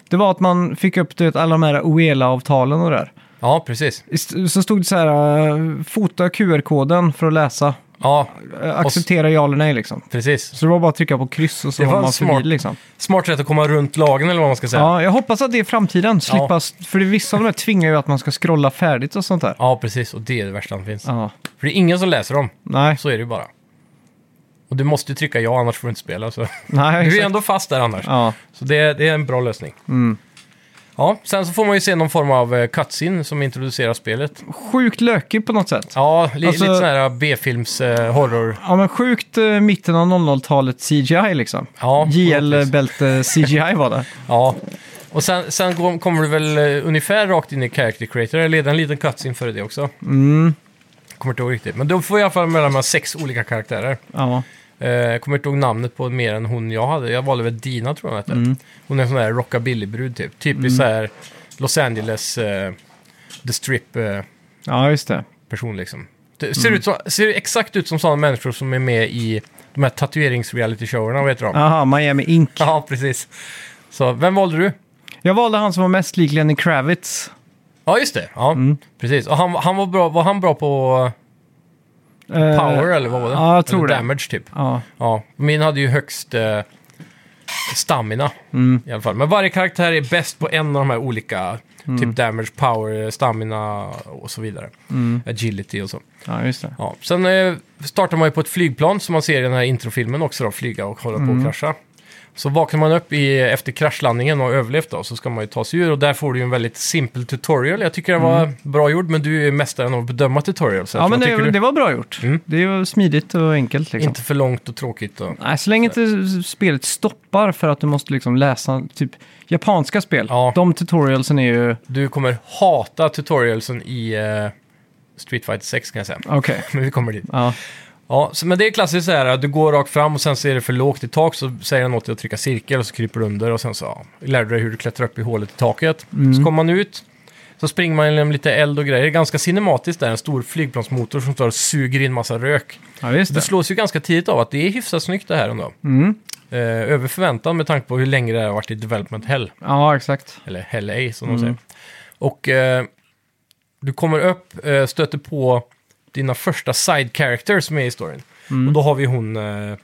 Speaker 1: Det var att man fick upp du vet, alla de här OELA-avtalen och det där.
Speaker 2: Ja, precis.
Speaker 1: Ist- Så stod det så här, eh, fota QR-koden för att läsa.
Speaker 2: Ja,
Speaker 1: Eh, Acceptera ja eller nej liksom.
Speaker 2: precis.
Speaker 1: Så det var bara att trycka på kryss och så
Speaker 2: Det
Speaker 1: var
Speaker 2: var
Speaker 1: man förbi
Speaker 2: smart.
Speaker 1: liksom.
Speaker 2: Smart sätt att komma runt lagen eller vad man ska säga. Ja,
Speaker 1: Ja, jag hoppas att det är framtiden. Slippa, För det- vissa av de här tvingar ju att man ska scrolla färdigt och sånt där.
Speaker 2: precis. Och det är det värsta som finns.
Speaker 1: Ja,
Speaker 2: För det är ingen som läser dem.
Speaker 1: nej.
Speaker 2: Så är det ju bara. Och du måste ju trycka ja, annars får du inte spela. Så.
Speaker 1: nej
Speaker 2: Du är
Speaker 1: exakt.
Speaker 2: ändå fast där annars.
Speaker 1: Ja, Mm.
Speaker 2: Så det, det är en bra lösning. Ja, sen så får man ju se någon form av eh, cutscene som introducerar spelet.
Speaker 1: sjukt lökig på något sätt.
Speaker 2: Ja, li
Speaker 1: Alltså-
Speaker 2: lite sån här B-films eh, horror.
Speaker 1: Ja, men sjukt eh, mitten av 00-talet CGI liksom.
Speaker 2: Ja, precis.
Speaker 1: JL-bälte CGI var det.
Speaker 2: Ja. Och sen, sen går- kommer du väl eh, ungefär rakt in i Character Creator, eller är det en liten cutscene före det också?
Speaker 1: Mm.
Speaker 2: Kommer inte ihåg riktigt, men då får jag i alla fall mellan med sex olika karaktärer.
Speaker 1: Ja,
Speaker 2: Eh, kommer inte ihåg namnet på mer än hon jag hade. Jag valde väl Dina tror jag hon hette.
Speaker 1: Mm.
Speaker 2: Hon är en sån där rockabillybrud typ. Typiskt så här Los Angeles, eh, The Strip. Eh,
Speaker 1: ja just det.
Speaker 2: person liksom. Det ser,
Speaker 1: Mm.
Speaker 2: ut som, ser exakt ut som sådana människor som är med i de här tatuerings-reality-showerna, vad heter de?
Speaker 1: Aha, Miami Ink.
Speaker 2: Ja, precis. Så vem valde du?
Speaker 1: Jag valde han som var mest lik Lenny Kravitz.
Speaker 2: Ja, just det. Ja,
Speaker 1: Mm.
Speaker 2: precis. Och han, han var, bra, var han bra på
Speaker 1: Eh,
Speaker 2: power eller vad var det?
Speaker 1: ja, jag tror
Speaker 2: eller
Speaker 1: det.
Speaker 2: damage typ.
Speaker 1: Ja,
Speaker 2: Ja, min hade ju högst eh, stamina
Speaker 1: Mm.
Speaker 2: i alla fall. Men varje karaktär är bäst på en av de här olika.
Speaker 1: Mm.
Speaker 2: Typ damage, power, stamina och så vidare.
Speaker 1: Mm.
Speaker 2: Agility och så.
Speaker 1: ja just det. Mm.
Speaker 2: Ja. Sen eh, startar man ju på ett flygplan som man ser i den här introfilmen också då, flyga och hålla på och krascha. Så vaknar man upp i, efter kraschlandningen och har överlevt då, så ska man ju ta sig ur och där får du ju en väldigt simpel tutorial. Jag tycker det var bra gjord, men du är mästaren att bedöma tutorials. så
Speaker 1: Mm. Ja, men
Speaker 2: vad tycker du?
Speaker 1: det,
Speaker 2: Mm.
Speaker 1: det var bra gjort. Det är ju smidigt och enkelt liksom.
Speaker 2: Inte för långt och tråkigt. Och...
Speaker 1: Nej, så länge inte spelet stoppar för att du måste liksom läsa typ japanska spel.
Speaker 2: Ja.
Speaker 1: De tutorialsen är ju...
Speaker 2: Du kommer hata tutorialsen i eh, Street Fighter 6 kan jag säga.
Speaker 1: Okej.
Speaker 2: Men vi kommer dit.
Speaker 1: Ja.
Speaker 2: Ja, så, men det är klassiskt så här, att du går rakt fram och sen så är det för lågt i tak så säger den åt dig att trycka cirkel och så kryper du under och sen så ja, lär du dig hur du klättrar upp i hålet i taket. Så kommer man ut, så springer man genom lite eld och grejer. Det är ganska cinematiskt där, en stor flygplansmotor som står och suger in massa rök.
Speaker 1: ja, visst
Speaker 2: Det
Speaker 1: det.
Speaker 2: slås ju ganska tidigt av att det är hyfsat snyggt det här ändå. Eh, över förväntan med tanke på hur länge det här har varit i development hell.
Speaker 1: Ja, exakt.
Speaker 2: Eller Hell A som
Speaker 1: Mm.
Speaker 2: de säger. Och eh, du kommer upp, eh, stöter på dina första side characters med i storyn.
Speaker 1: Mm.
Speaker 2: Och då har vi hon, eh,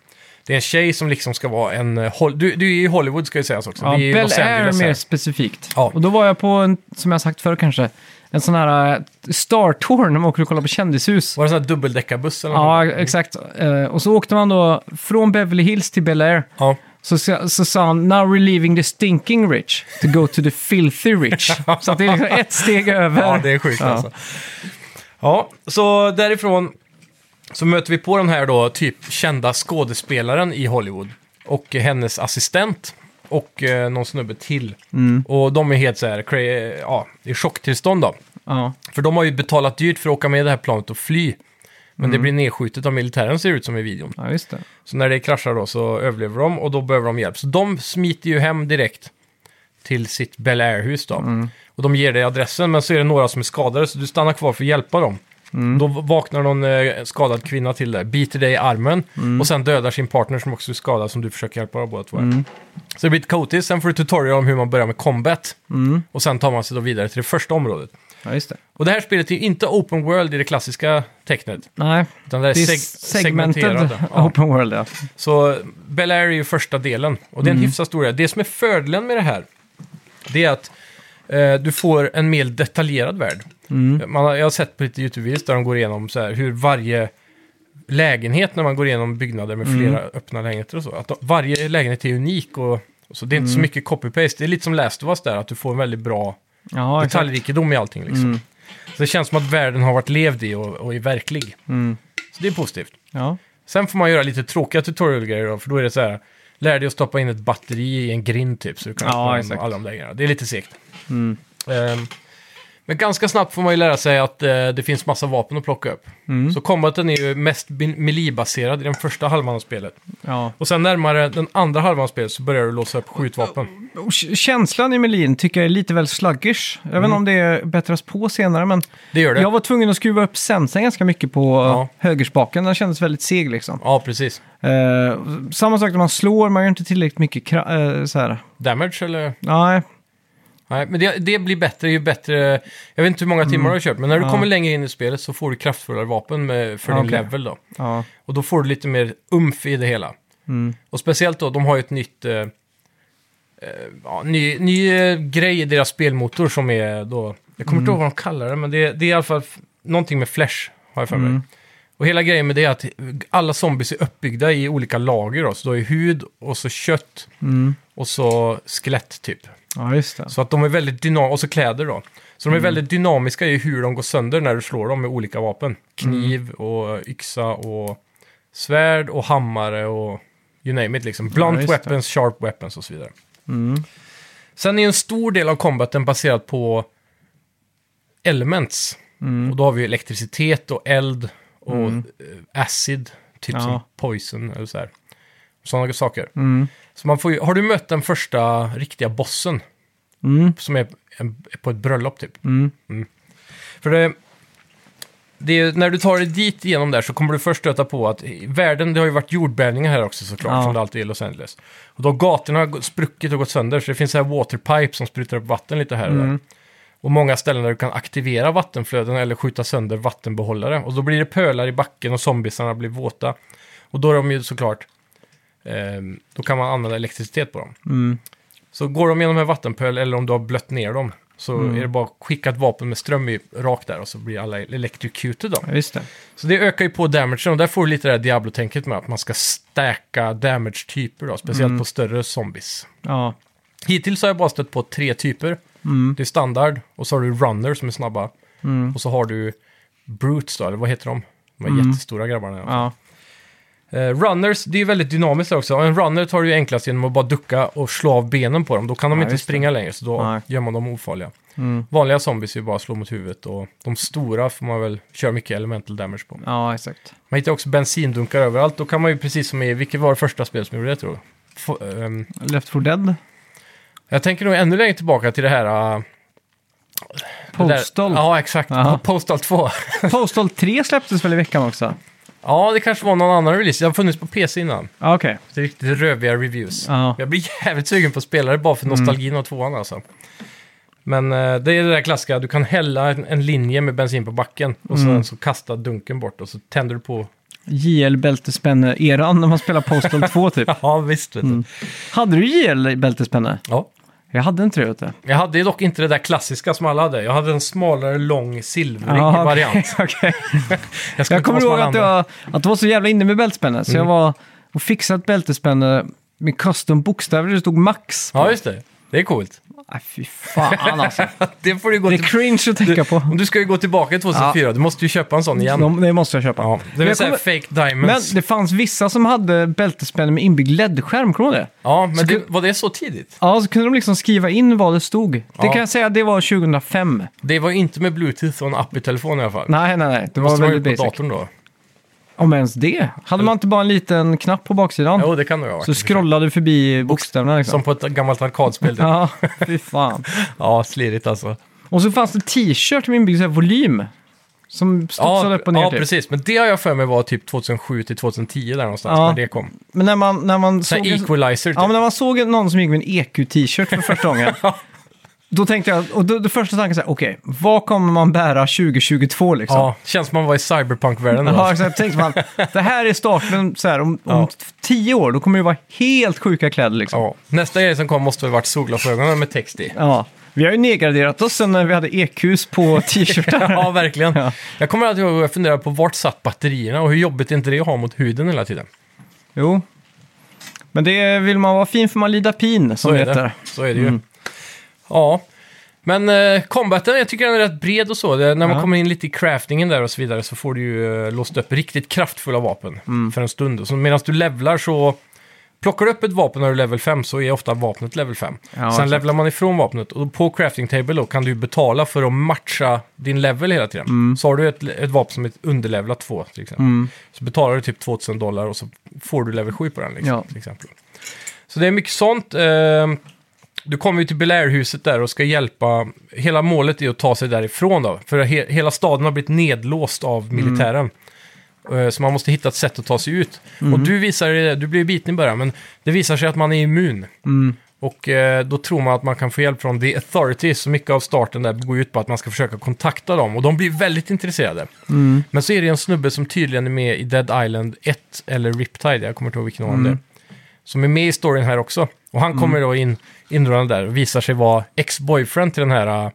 Speaker 2: det är en tjej som liksom ska vara en, eh, Hol- du, du är i Hollywood ska ju sägas också.
Speaker 1: Ja,
Speaker 2: vi är i
Speaker 1: Bel
Speaker 2: Los
Speaker 1: Air
Speaker 2: Angeles
Speaker 1: mer
Speaker 2: här.
Speaker 1: specifikt.
Speaker 2: Ja.
Speaker 1: Och då var jag på, en, som jag sagt förr kanske, en sån här eh, Star Tour när man åker och kollar på kändishus.
Speaker 2: Var det en sån här dubbeldäckarbuss eller något?
Speaker 1: Ja, exakt. Eh, och så åkte man då från Beverly Hills till Bel Air.
Speaker 2: Ja.
Speaker 1: Så, sa- så sa han “Now we're leaving the stinking rich to go to the filthy rich”. så att det är liksom ett steg över.
Speaker 2: Ja, det är sjukt
Speaker 1: Ja.
Speaker 2: alltså. Ja, så därifrån så möter vi på den här då typ kända skådespelaren i Hollywood och hennes assistent och eh, någon snubbe till. Och de är helt så här, cra- ja, i chocktillstånd då.
Speaker 1: Ja.
Speaker 2: För de har ju betalat dyrt för att åka med i det här planet och fly. Men det blir nedskjutet av militären ser det ut som i videon.
Speaker 1: ja, just det.
Speaker 2: Så när det kraschar då så överlever de och då behöver de hjälp. Så de smiter ju hem direkt till sitt Bel Air-hus då.
Speaker 1: Mm.
Speaker 2: Och de ger dig adressen, men så är det några som är skadade så du stannar kvar för att hjälpa dem.
Speaker 1: Mm.
Speaker 2: Då vaknar någon eh, skadad kvinna till där, biter dig i armen
Speaker 1: Mm.
Speaker 2: och sen dödar sin partner som också är skadad som du försöker hjälpa av båda två. här.
Speaker 1: Mm.
Speaker 2: Så det blir ett kaotiskt, sen får du tutorial om hur man börjar med combat.
Speaker 1: Mm.
Speaker 2: Och sen tar man sig då vidare till det första området.
Speaker 1: Ja, just det.
Speaker 2: Och det här spelet är ju inte open world i det klassiska tecknet.
Speaker 1: Nej,
Speaker 2: Utan det är,
Speaker 1: det är
Speaker 2: seg-
Speaker 1: segmented
Speaker 2: segmenterat. Ja.
Speaker 1: open world. Ja.
Speaker 2: Så Bel Air är ju första delen och det
Speaker 1: Mm.
Speaker 2: är en hyfsat stor del. Det som är fördelen med det här, det är att eh, du får en mer detaljerad värld.
Speaker 1: Mm.
Speaker 2: Man har, jag har sett på lite YouTube-videos där de går igenom så här, hur varje lägenhet när man går igenom byggnader med flera
Speaker 1: Mm.
Speaker 2: öppna lägenheter och så. Att de, varje lägenhet är unik och, och så. Det är inte så
Speaker 1: Mm.
Speaker 2: mycket copy-paste. Det är lite som Last of Us där, att du får en väldigt bra
Speaker 1: Ja, exakt. Mm.
Speaker 2: detaljrikedom i allting liksom. Så det känns som att världen har varit levd i och, och är verklig.
Speaker 1: Mm.
Speaker 2: Så det är positivt.
Speaker 1: Ja.
Speaker 2: Sen får man göra lite tråkiga tutorial-grejer då, för då är det så här, lär dig att stoppa in ett batteri i en grind typ, så du kan
Speaker 1: Ja,
Speaker 2: öppna dem,
Speaker 1: exakt. Mm.
Speaker 2: alla de där grejerna. Det är lite segt. Ehm, men ganska snabbt får man ju lära sig att eh, det finns massa vapen att plocka upp.
Speaker 1: Mm.
Speaker 2: Så combaten är ju mest bin- melee-baserad i den första halvan av spelet.
Speaker 1: Ja.
Speaker 2: Och sen närmare den andra halvan av spelet så börjar du låsa upp skjutvapen.
Speaker 1: Och k- känslan i Melin tycker jag är lite väl sluggish. Jag vet inte om det bättras på senare, men
Speaker 2: Det Mm. gör det.
Speaker 1: jag var tvungen att skruva upp sensen ganska mycket på
Speaker 2: Ja.
Speaker 1: högerspaken. Den kändes väldigt seg liksom.
Speaker 2: Ja, precis.
Speaker 1: Eh, samma sak när man slår, man gör inte tillräckligt mycket kra- eh, så här.
Speaker 2: Damage eller?
Speaker 1: Nej,
Speaker 2: Nej, men det, det blir bättre ju bättre... Jag vet inte hur många
Speaker 1: Mm.
Speaker 2: timmar du har kört, men när du kommer längre in i spelet så får du kraftfullare vapen med, för din
Speaker 1: Okej.
Speaker 2: level då.
Speaker 1: ja. Mm.
Speaker 2: Och då får du lite mer umf i det hela. Och speciellt då, de har ju ett nytt... Eh, eh, ja, ny, ny eh, grej i deras spelmotor som är då... Jag kommer inte ihåg vad de kallar det, men det, det är i alla fall f- någonting med flash, har jag för mig. Och hela grejen med det är att alla zombies är uppbyggda i olika lager. Då. Så då är hud och så kött och så skelett typ.
Speaker 1: ja, just det.
Speaker 2: Så att de är väldigt dynamiska, och så kläder då. Så
Speaker 1: Mm.
Speaker 2: de är väldigt dynamiska i hur de går sönder när du slår dem med olika vapen. Kniv
Speaker 1: Mm.
Speaker 2: och yxa och svärd och hammare och you name it liksom. Blunt
Speaker 1: just det. Mm.
Speaker 2: weapons, sharp weapons och så vidare. Sen är en stor del av combaten baserad på elements.
Speaker 1: Mm.
Speaker 2: Och då har vi ju elektricitet och eld och eh, acid, typ
Speaker 1: Ja.
Speaker 2: som poison eller så här. Sådana saker.
Speaker 1: Mm.
Speaker 2: Så man får ju, har du mött den första riktiga bossen?
Speaker 1: Mm.
Speaker 2: Som är en, på ett bröllop typ. Mm. För det, det är, när du tar dig dit igenom där så kommer du först stöta på att i världen, det har ju varit jordbävningar här också såklart,
Speaker 1: Ja.
Speaker 2: som det alltid är i Los Angeles. Och då har gatorna gått- spruckit och gått sönder, så det finns så här waterpipe som sprutar upp vatten lite här och där.
Speaker 1: Mm.
Speaker 2: Och många ställen där du kan aktivera vattenflöden eller skjuta sönder vattenbehållare. Och då blir det pölar i backen och zombiesarna blir våta. Och då är de ju såklart, ehm, då kan man använda elektricitet på dem. Så går de genom en vattenpöl eller om du har blött ner dem Så är det bara att skicka ett vapen med ström i, rakt där och så blir alla electrocuted då.
Speaker 1: Ja, just det.
Speaker 2: Så det ökar ju på damagen och där får du lite det här Diablo-tänket med att man ska stacka damage-typer då, speciellt på större zombies.
Speaker 1: Ja,
Speaker 2: Hittills har jag bara stött på tre typer.
Speaker 1: Mm.
Speaker 2: Det är standard och så har du runner som är snabba. Och så har du brutes då, eller vad heter de? De
Speaker 1: Mm.
Speaker 2: här jättestora grabbarna. Ja.
Speaker 1: ja.
Speaker 2: Eh, runners, det är ju väldigt dynamiskt där också. En runner tar du ju enklast genom att bara ducka och slå av benen på dem. Då kan de
Speaker 1: Ja,
Speaker 2: inte
Speaker 1: just det.
Speaker 2: springa längre, så då
Speaker 1: Nej. Mm.
Speaker 2: gör man dem ofarliga. Vanliga zombies är ju bara att slå mot huvudet och de stora får man väl köra mycket elemental damage på.
Speaker 1: ja exakt.
Speaker 2: Man hittar också bensindunkar överallt. Då kan man ju precis som i, vilket var det första spelet som gjorde det tror jag? F- ehm,
Speaker 1: Left 4 Dead?
Speaker 2: jag tänker nog ännu längre tillbaka till det här... Uh,
Speaker 1: Postal.
Speaker 2: Det där, ja, exakt.
Speaker 1: Ja.
Speaker 2: Postal 2.
Speaker 1: Postal 3 släpptes väl i veckan också?
Speaker 2: ja, det kanske var någon annan release. Det har funnits på PC innan.
Speaker 1: Ja, okej.
Speaker 2: Det är riktigt röviga reviews.
Speaker 1: Ja. Mm.
Speaker 2: Jag blir jävligt sugen på att spela det bara för nostalgin av tvåan alltså. Men eh, det är det där klassiska, du kan hälla en, en linje med bensin på backen och
Speaker 1: Mm.
Speaker 2: sen så kastar dunken bort och så tänder du på.
Speaker 1: JL-bältespänne-eran när man spelar Postal 2 typ.
Speaker 2: Ja, visst vet du.
Speaker 1: Hade du JL-bältespänne?
Speaker 2: Mm. Ja.
Speaker 1: Jag hade inte det, vet du.
Speaker 2: Jag hade ju dock inte det där klassiska som alla hade. Jag hade en smalare, lång, silvrig
Speaker 1: Ja,
Speaker 2: variant.
Speaker 1: okej, okej.
Speaker 2: skulle
Speaker 1: Jag kommer
Speaker 2: inte
Speaker 1: ihåg
Speaker 2: vara
Speaker 1: att
Speaker 2: smal andra. Mm.
Speaker 1: jag, att det var så jävla inne med bältespänne, så jag var och fixade ett bältespänne med custom bokstäver, det stod max.
Speaker 2: Ja, just det. Det är coolt.
Speaker 1: Nej, fy fan alltså.
Speaker 2: Det får du gå
Speaker 1: Det är
Speaker 2: till...
Speaker 1: cringe att tänka på.
Speaker 2: Du ska ju gå tillbaka till 2004, du måste ju köpa en sån igen.
Speaker 1: De, det måste jag köpa.
Speaker 2: Ja, det
Speaker 1: Men
Speaker 2: vill
Speaker 1: jag
Speaker 2: säga
Speaker 1: kommer-
Speaker 2: fake
Speaker 1: Men
Speaker 2: diamonds.
Speaker 1: det fanns vissa som hade bältespänne med inbyggd LED-skärm, kommer du ihåg det?
Speaker 2: ja, men
Speaker 1: Skulle-
Speaker 2: det, var det så tidigt?
Speaker 1: Ja, så kunde de liksom skriva in vad det stod. Det
Speaker 2: Ja.
Speaker 1: kan jag säga, det var 2005.
Speaker 2: Det var ju inte med bluetooth och en app i telefon i alla fall.
Speaker 1: Nej, nej, nej. Det var
Speaker 2: måste vara
Speaker 1: väldigt
Speaker 2: på
Speaker 1: basic.
Speaker 2: datorn då.
Speaker 1: Om ens det. Hade man inte bara en liten knapp på baksidan?
Speaker 2: Jo, det kan det ju ha varit.
Speaker 1: så scrollade du förbi bokstäverna liksom.
Speaker 2: Som på ett gammalt arkadspel. typ.
Speaker 1: Ja, fy fan.
Speaker 2: ja, slirigt alltså.
Speaker 1: Och så fanns det t-shirt med inbyggd så här volym. Som studsade
Speaker 2: Ja,
Speaker 1: upp och ner
Speaker 2: ja
Speaker 1: typ.
Speaker 2: precis. Men det har jag för mig var typ 2007 till 2010 där någonstans
Speaker 1: Ja.
Speaker 2: när det kom.
Speaker 1: Men när man, när man
Speaker 2: Så
Speaker 1: såg...
Speaker 2: här equalizer typ.
Speaker 1: Ja, men när man såg någon som gick med en EQ-t-shirt för första gången. Då tänkte jag, och då, då första tanken så här, okej, vad kommer man bära 2022 liksom?
Speaker 2: ja, känns som man var i cyberpunk-världen då.
Speaker 1: Ja, exakt. Tänkte man, det här är starten, så här, om, om tio år, då kommer det vara helt sjuka kläder liksom. Ja.
Speaker 2: Ja. Nästa grej som kom måste väl varit solglasögonen med text i.
Speaker 1: Vi har ju nedgraderat oss sen när vi hade EQs på t-shirtar.
Speaker 2: Ja, verkligen.
Speaker 1: Ja.
Speaker 2: Jag kommer alltid ihåg att fundera på vart satt batterierna och hur jobbigt är inte det att ha mot huden hela tiden.
Speaker 1: Jo. Men det vill man vara fin för man lider pin, som
Speaker 2: Så
Speaker 1: det Mm.
Speaker 2: är
Speaker 1: heter.
Speaker 2: det. Så är det ju. Ja. Men eh, combaten, jag tycker den är rätt bred och så. Det, när man
Speaker 1: Ja.
Speaker 2: kommer in lite i craftingen där och så vidare så får du ju eh, låst upp riktigt kraftfulla vapen
Speaker 1: Mm.
Speaker 2: för en stund. Så medan du levlar så Plockar du upp ett vapen när du är level 5 så är ofta vapnet level 5. Sen
Speaker 1: exakt.
Speaker 2: levlar man ifrån vapnet och på crafting table då kan du ju betala för att matcha din level hela tiden. Så har du ett, ett vapen som är underlevlat 2 till exempel. Så betalar du typ 2000 dollar och så får du level 7 på den liksom,
Speaker 1: Ja.
Speaker 2: till exempel. Så det är mycket sånt. Ehm, Du kommer ju till Belair-huset där och ska hjälpa. Hela målet är att ta sig därifrån då. För he hela staden har blivit nedlåst av militären. Eh, Så man måste hitta ett sätt att ta sig ut. Och du visar dig- du blir biten i början, men det visar sig att man är immun. Och eh, då tror man att man kan få hjälp från The Authorities. Så mycket av starten där går ut på att man ska försöka kontakta dem. Och de blir väldigt intresserade. Men så är det en snubbe som tydligen är med i Dead Island 1 eller Riptide, jag kommer inte ihåg vilken av dem det är som är med i storyn här också. Och han kommer då in, inrullande där och visar sig vara ex-boyfriend till den här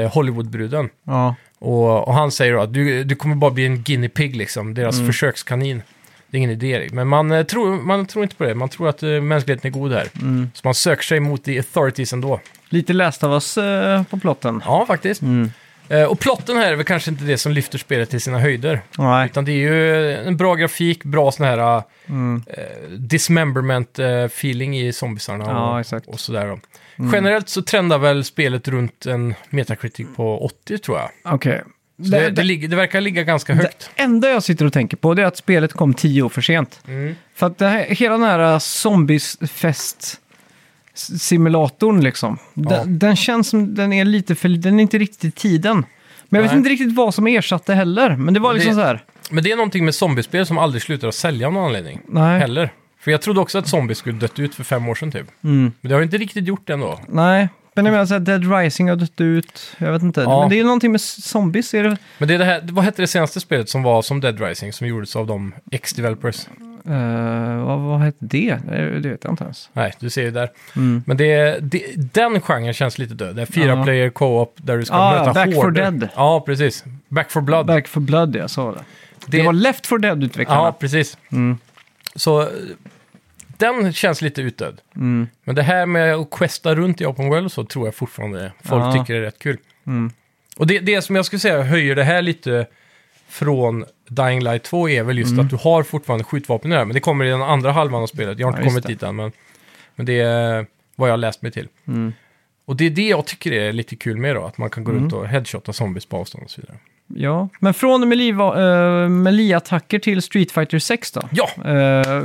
Speaker 2: eh, Hollywoodbruden.
Speaker 1: Ja.
Speaker 2: Och, och han säger då att du, du kommer bara bli en guinea pig liksom, deras
Speaker 1: Mm.
Speaker 2: försökskanin. Det är ingen idé, Erik. men man, eh, tror, man tror inte på det. Man tror att eh, mänskligheten är god här.
Speaker 1: Mm.
Speaker 2: Så man söker sig mot the authorities ändå.
Speaker 1: Lite läst av oss eh, på plotten.
Speaker 2: Ja, faktiskt.
Speaker 1: Mm.
Speaker 2: Eh, och plotten här är väl kanske inte det som lyfter spelet till sina höjder.
Speaker 1: Nej.
Speaker 2: Utan det är ju en bra grafik, bra sån här
Speaker 1: Mm.
Speaker 2: eh, dismemberment-feeling i zombisarna
Speaker 1: Ja, exakt. Mm.
Speaker 2: och, och sådär. Då. Generellt så trendar väl spelet runt en Metacritic på 80 tror jag.
Speaker 1: Okej.
Speaker 2: Så det, det, ligger- det verkar ligga ganska högt.
Speaker 1: Det enda jag sitter och tänker på det är att spelet kom tio år för sent.
Speaker 2: Mm.
Speaker 1: För att det här, hela den här eh, zombiesfest simulatorn liksom. Den, den känns som den är lite för, den är inte riktigt i tiden. Men jag vet
Speaker 2: Nej.
Speaker 1: inte riktigt vad som ersatte heller. Men det var
Speaker 2: Men
Speaker 1: liksom
Speaker 2: det-
Speaker 1: så här.
Speaker 2: Men det är någonting med zombiespel som aldrig slutar att sälja av någon anledning.
Speaker 1: Nej.
Speaker 2: Heller. För jag trodde också att zombies skulle dött ut för fem år sedan typ.
Speaker 1: Mm.
Speaker 2: Men det har ju inte riktigt gjort det ändå.
Speaker 1: Nej. Men jag menar så här, Dead Rising har dött ut. Jag vet inte.
Speaker 2: Ja.
Speaker 1: Men det är någonting med zombies. Är det,
Speaker 2: Men det är det här, vad hette det senaste spelet som var som Dead Rising, som gjordes av de X-developers?
Speaker 1: Eh, vad, vad hette det? Det det vet jag inte ens.
Speaker 2: Nej, du ser ju där. Men det, det, den genren känns lite död. Det är fyra
Speaker 1: Mm. Ja.
Speaker 2: player co-op där du ska
Speaker 1: Ah,
Speaker 2: möta
Speaker 1: Back 4
Speaker 2: horder.
Speaker 1: Dead.
Speaker 2: Ja, precis. Back for blood.
Speaker 1: Back for Blood, jag sa det. Det,
Speaker 2: Det-
Speaker 1: var Left for Dead-utvecklarna.
Speaker 2: ja, precis.
Speaker 1: Mm.
Speaker 2: Så eh, den känns lite utdöd.
Speaker 1: Mm.
Speaker 2: Men det här med att questa runt i Open World och så tror jag fortfarande folk
Speaker 1: Ja. Mm.
Speaker 2: tycker är rätt kul. Och det, det som jag skulle säga höjer det här lite från Dying Light 2 är väl just
Speaker 1: Mm.
Speaker 2: att du har fortfarande skjutvapen i det här, men det kommer i den andra halvan av spelet. Jag har inte
Speaker 1: Ja, just
Speaker 2: kommit
Speaker 1: det.
Speaker 2: dit än, men, men det är vad jag har läst mig till.
Speaker 1: Mm.
Speaker 2: Och det är det jag tycker är lite kul med då, att man kan gå runt och headshotta zombies på avstånd och så vidare.
Speaker 1: Ja, men från eh, Melee-attacker till Street Fighter 6 då?
Speaker 2: Ja!
Speaker 1: Eh,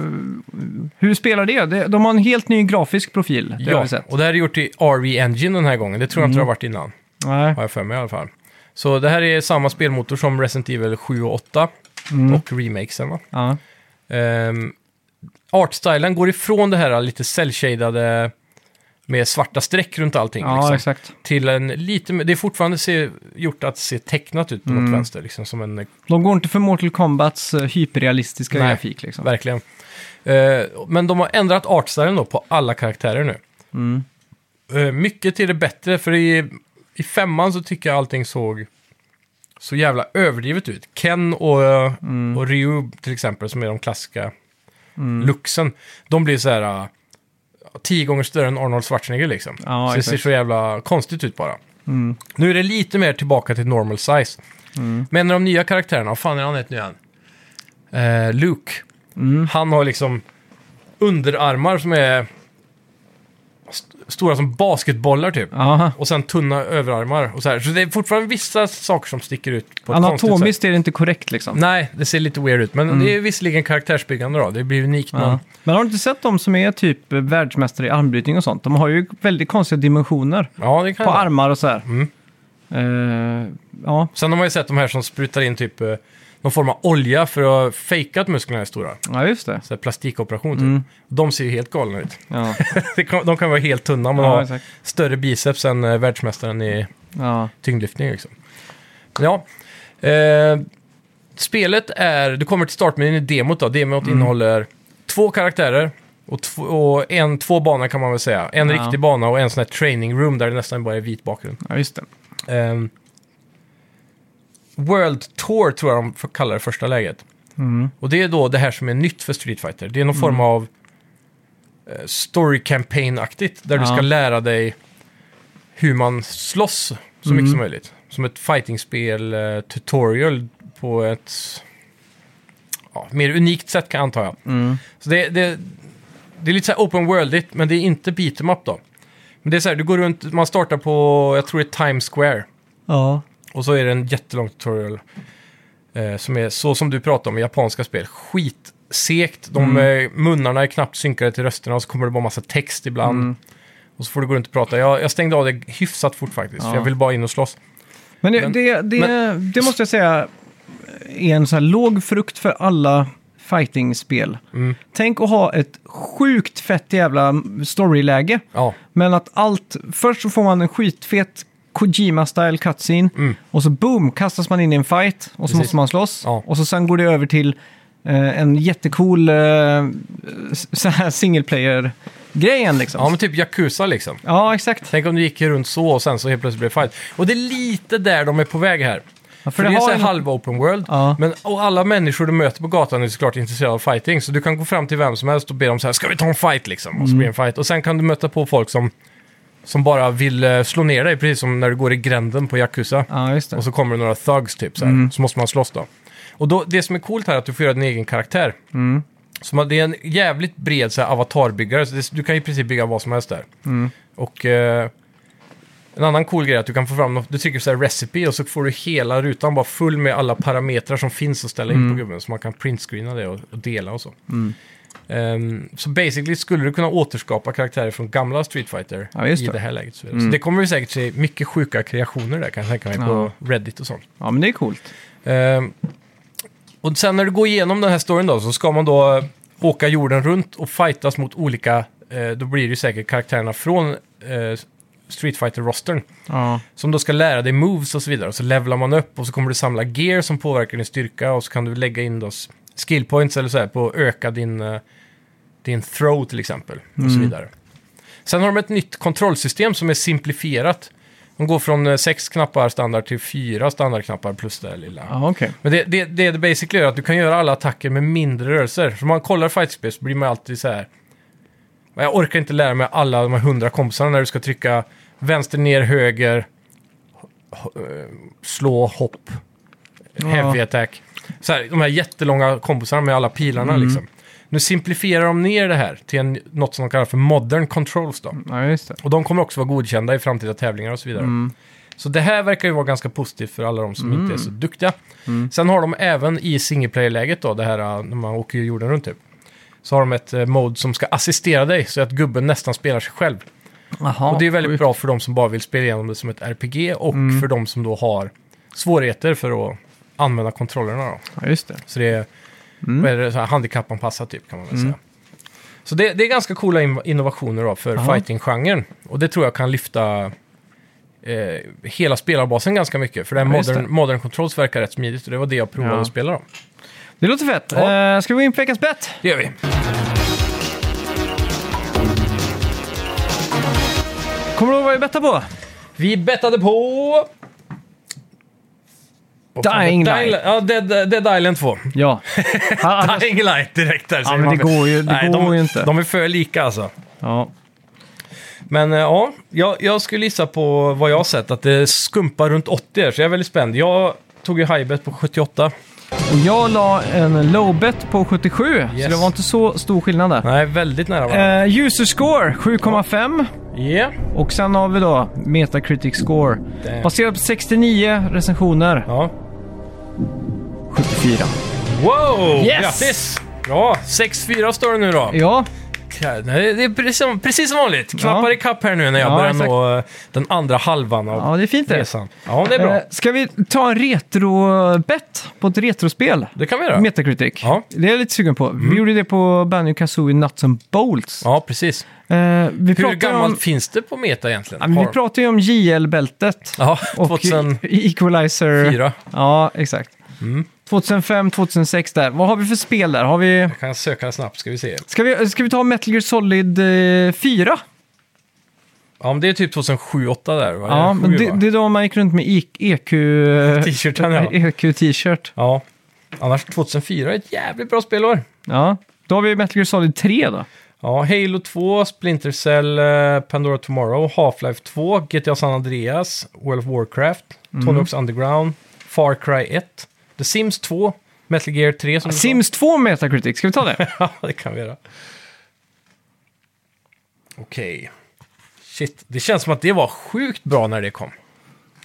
Speaker 1: hur spelar det? Det- De har en helt ny grafisk profil, det har vi sett.
Speaker 2: och det här är gjort i RE Engine den här gången. Det tror jag
Speaker 1: Mm.
Speaker 2: inte det har varit innan,
Speaker 1: Nej.
Speaker 2: har jag för mig i alla fall. Så det här är samma spelmotor som Resident Evil 7 och 8
Speaker 1: Mm.
Speaker 2: och remakesen. Va?
Speaker 1: Ja.
Speaker 2: Ehm, artstylen går ifrån det här lite cellshadade med svarta streck runt allting.
Speaker 1: ja,
Speaker 2: liksom,
Speaker 1: exakt.
Speaker 2: Till en lite, mer- det är fortfarande se, gjort att se tecknat ut på
Speaker 1: Mm.
Speaker 2: något vänster, liksom som en
Speaker 1: De går inte för Mortal Kombats eh, hyperrealistiska
Speaker 2: Nej.
Speaker 1: grafik liksom.
Speaker 2: Verkligen. Eh, men de har ändrat artstylen då på alla karaktärer nu.
Speaker 1: Mm.
Speaker 2: Eh, mycket till det bättre, för i, i femman så tycker jag allting såg så jävla överdrivet ut. Ken och, eh,
Speaker 1: Mm.
Speaker 2: och Ryu till exempel, som är de klassiska luxen, de blir så här eh, tio gånger större än Arnold Schwarzenegger liksom.
Speaker 1: Ja,
Speaker 2: så det ser
Speaker 1: exakt. Mm.
Speaker 2: så jävla konstigt ut bara. Nu är det lite mer tillbaka till normal size. Men de nya karaktärerna, vad fan är han heter nu igen? Eh, Luke.
Speaker 1: Mm.
Speaker 2: Han har liksom underarmar som är st stora som basketbollar typ.
Speaker 1: Aha.
Speaker 2: Och sen tunna överarmar och så här. Så det är fortfarande vissa saker som sticker ut på ett konstigt sätt.
Speaker 1: Anatomiskt är det inte korrekt liksom.
Speaker 2: Nej, det ser lite weird ut. Men det är visserligen karaktärsbyggande då. Det blir unikt. men-
Speaker 1: Ja. Men har du inte sett de som är typ eh, världsmästare i armbrytning och sånt? De har ju väldigt konstiga dimensioner
Speaker 2: Ja, Mm. det kan
Speaker 1: på
Speaker 2: jag-
Speaker 1: armar och så här. Eh, ja,
Speaker 2: Sen har man ju sett de här som sprutar in typ eh, någon form av olja för att fejka att musklerna är stora.
Speaker 1: ja, just det.
Speaker 2: Så här plastikoperation typ.
Speaker 1: Mm.
Speaker 2: De ser ju helt galna ut.
Speaker 1: Ja.
Speaker 2: Det kan- de kan vara helt tunna men
Speaker 1: Ja,
Speaker 2: ha
Speaker 1: exakt.
Speaker 2: större biceps än eh, världsmästaren i
Speaker 1: Ja.
Speaker 2: tyngdlyftning. Liksom. Ja. Eh, spelet är, du kommer till startmenyn i demot då. Demot innehåller två karaktärer och, tv- och en, två banor kan man väl säga. En
Speaker 1: Ja.
Speaker 2: riktig bana och en sån här training room där det nästan bara är vit bakgrund.
Speaker 1: ja, just det.
Speaker 2: Ehm, World Tour tror jag de får kallar det första läget. Och det är då det här som är nytt för Street Fighter. Det är någon form av eh, story campaign-aktigt. Där du
Speaker 1: Ja.
Speaker 2: ska lära dig hur man slåss så mycket som möjligt. Som ett fightingspel eh, tutorial på ett ja, mer unikt sätt kan jag anta. Så det, det, det är lite så här open worldigt men det är inte beat em up då. Men det är så här, du går runt, man startar på, jag tror det är Times Square.
Speaker 1: Ja.
Speaker 2: Och så är det en jättelång tutorial. Eh, som är så som du pratar om i japanska spel. Skitsekt. De eh, munnarna är knappt synkade till rösterna och så kommer det bara massa text ibland. Och så får du gå runt och prata. Jag, jag stängde av det hyfsat fort faktiskt.
Speaker 1: Ja.
Speaker 2: För jag vill bara in och slåss.
Speaker 1: Men det,
Speaker 2: Men-
Speaker 1: det, det, det måste jag säga är en så här låg frukt för alla fighting-spel.
Speaker 2: Mm.
Speaker 1: Tänk att ha ett sjukt fett jävla storyläge.
Speaker 2: Ja,
Speaker 1: Men att allt, först så får man en skitfet Kojima-style cutscene
Speaker 2: Mm.
Speaker 1: och så boom, kastas man in i en fight och så måste man slåss.
Speaker 2: Ja.
Speaker 1: Och så sen går det över till eh, en jättecool eh, s- så här single player-grejen liksom.
Speaker 2: ja men typ Yakuza liksom.
Speaker 1: Ja, exakt.
Speaker 2: Tänk om du gick runt så och sen så helt plötsligt blev det fight. Och det är lite där de är på väg här.
Speaker 1: Ja,
Speaker 2: För det, är så här halv open world.
Speaker 1: Ja.
Speaker 2: Men, och alla människor du möter på gatan är såklart intresserade av fighting. Så du kan gå fram till vem som helst och be dem så här, ska vi ta en fight liksom?
Speaker 1: Mm.
Speaker 2: Och så blir det en fight. Och sen kan du möta på folk som, som bara vill eh, slå ner dig, precis som när du går i gränden på Yakuza.
Speaker 1: Ja, just
Speaker 2: Och
Speaker 1: det. Mm.
Speaker 2: så kommer det några thugs typ, så, här. så måste man slåss då. Och då, det som är coolt här är att du får göra din egen karaktär.
Speaker 1: Mm.
Speaker 2: Så man, det är en jävligt bred så här, avatarbyggare, så det, du kan i princip bygga vad som helst där.
Speaker 1: Mm.
Speaker 2: Och eh, en annan cool grej är att du kan få fram, något- du trycker så här recipe och så får du hela rutan bara full med alla parametrar som finns att ställa in
Speaker 1: Mm.
Speaker 2: på gubben. Så man kan printscreena det och, och dela och så. Ehm, så basically skulle du kunna återskapa karaktärer från gamla Street Fighter
Speaker 1: Ja,
Speaker 2: i
Speaker 1: just det.
Speaker 2: det här läget. Så vidare. Så det kommer vi säkert se mycket sjuka kreationer där kan jag tänka mig på Reddit och sånt.
Speaker 1: Ja, men det är coolt.
Speaker 2: Ehm, och sen när du går igenom den här storyn då, så ska man då eh, åka jorden runt och fightas mot olika, eh, då blir det ju säkert karaktärerna från eh, Street fighter rostern
Speaker 1: Ja.
Speaker 2: Som då ska lära dig moves och så vidare. Och så levlar man upp och så kommer du samla gear som påverkar din styrka och så kan du lägga in då s- skill points eller så här på att öka din, eh, din throw till exempel. Och så vidare. Sen har de ett nytt kontrollsystem som är simplifierat. De går från eh, sex knappar standard till fyra standardknappar plus det här lilla.
Speaker 1: Ja, okej.
Speaker 2: Men det, det, det det basically gör är att du kan göra alla attacker med mindre rörelser. Så om man kollar fightspel så blir man alltid så här. "Men Jag orkar inte lära mig alla de här hundra kompisarna när du ska trycka vänster, ner, höger, ho- eh, slå, hopp, heavy attack. Så här, de här jättelånga kompisarna med alla pilarna liksom. Nu simplifierar de ner det här till en, något som de kallar för modern controls då.
Speaker 1: Ja, just det.
Speaker 2: Och de kommer också vara godkända i framtida tävlingar och så vidare. Så det här verkar ju vara ganska positivt för alla de som inte är så duktiga. Sen har de även i singleplayer-läget då, det här eh, när man åker jorden runt typ. Så har de ett eh, mode som ska assistera dig så att gubben nästan spelar sig själv.
Speaker 1: Aha,
Speaker 2: och det är väldigt
Speaker 1: sjukt.
Speaker 2: bra för de som bara vill spela igenom det som ett RPG och för de som då har svårigheter för att använda kontrollerna då.
Speaker 1: Ja, just det.
Speaker 2: Så det är, vad är det, så här, handikappanpassat typ kan man väl säga. Så det, det är ganska coola in- innovationer då för
Speaker 1: Jaha.
Speaker 2: fighting-genren. Och det tror jag kan lyfta eh, hela spelarbasen ganska mycket. För den
Speaker 1: Ja, just
Speaker 2: modern,
Speaker 1: det.
Speaker 2: modern Controls verkar rätt smidigt och det var det jag provade
Speaker 1: Ja.
Speaker 2: att spela då.
Speaker 1: Det låter fett.
Speaker 2: Ja.
Speaker 1: Eh, ska vi gå in på veckans bett?
Speaker 2: Det gör vi.
Speaker 1: Kommer du ihåg vad vi bettade på?
Speaker 2: Vi bettade på... Vad fan,
Speaker 1: Dying
Speaker 2: Dead
Speaker 1: Light.
Speaker 2: Ja, Dead, Dead Island 2.
Speaker 1: Ja. Han- han-
Speaker 2: Dying Light direkt där. säger
Speaker 1: men
Speaker 2: man.
Speaker 1: det går ju- det går
Speaker 2: de,
Speaker 1: ju inte.
Speaker 2: De är för lika alltså.
Speaker 1: ja.
Speaker 2: Men eh, ja, jag, jag skulle gissa på vad jag har sett, att det skumpar runt 80 här, så jag är väldigt spänd. Jag tog ju highbet på 78.
Speaker 1: Och jag la en low bet på 77,
Speaker 2: Yes.
Speaker 1: så det var inte så stor skillnad där.
Speaker 2: Nej, väldigt nära varandra.
Speaker 1: Eh, user score 7,5
Speaker 2: Ja,
Speaker 1: och sen har vi då Metacritic score.
Speaker 2: Damn.
Speaker 1: Baserat på 69 recensioner,
Speaker 2: ja.
Speaker 1: 74.
Speaker 2: Wow!
Speaker 1: Yes!
Speaker 2: Grattis! Bra! 6-4 står det nu då.
Speaker 1: Ja,
Speaker 2: Ja, nej, Det är precis, som- precis som vanligt. Knappar
Speaker 1: Ja.
Speaker 2: ikapp här nu när jag
Speaker 1: Ja,
Speaker 2: börjar
Speaker 1: exakt.
Speaker 2: nå eh, den andra halvan av
Speaker 1: ja det är fint det.
Speaker 2: resan. Ja, det är bra.
Speaker 1: Eh, ska vi ta en retro-bet på ett retrospel?
Speaker 2: Det kan vi göra.
Speaker 1: Metacritic.
Speaker 2: Ja. Mm.
Speaker 1: Det är jag lite sugen på. Vi gjorde det på Banjo Kazooie Nuts and Bolts.
Speaker 2: Ja, precis.
Speaker 1: Eh, vi
Speaker 2: Hur
Speaker 1: pratar ju
Speaker 2: gammalt
Speaker 1: om,
Speaker 2: finns det på Meta egentligen?
Speaker 1: ja, men
Speaker 2: Har
Speaker 1: Vi
Speaker 2: de-
Speaker 1: pratar ju om JL-bältet.
Speaker 2: Ja,
Speaker 1: Och
Speaker 2: 2004.
Speaker 1: E- Equalizer. Ja, exakt.
Speaker 2: Mm.
Speaker 1: 2005, 2006 där. Vad har vi för spel där? Har vi...
Speaker 2: Kan jag söka snabbt, ska vi se.
Speaker 1: Ska, vi, ska vi ta Metal Gear Solid eh, 4?
Speaker 2: Ja, men det är typ 2007-2008 där. va?
Speaker 1: Ja, men
Speaker 2: Sju,
Speaker 1: det,
Speaker 2: va?
Speaker 1: det är då man gick runt med IQ- EQ... eh,
Speaker 2: T-shirten, ja.
Speaker 1: EQ t-shirt.
Speaker 2: Ja. Annars 2004 är ett jävligt bra spelår.
Speaker 1: Ja. Då har vi Metal Gear Solid 3 då.
Speaker 2: Ja, Halo 2, Splinter Cell, eh, Pandora Tomorrow, Half-Life 2, GTA San Andreas, World of Warcraft, Tony Hawk's Underground, Far Cry 1, The Sims 2, Metal Gear 3 som du sa.
Speaker 1: Sims 2 Metacritic, ska vi ta det?
Speaker 2: Ja, det kan vi göra. Okej. Shit, det känns som att det var sjukt bra när det kom.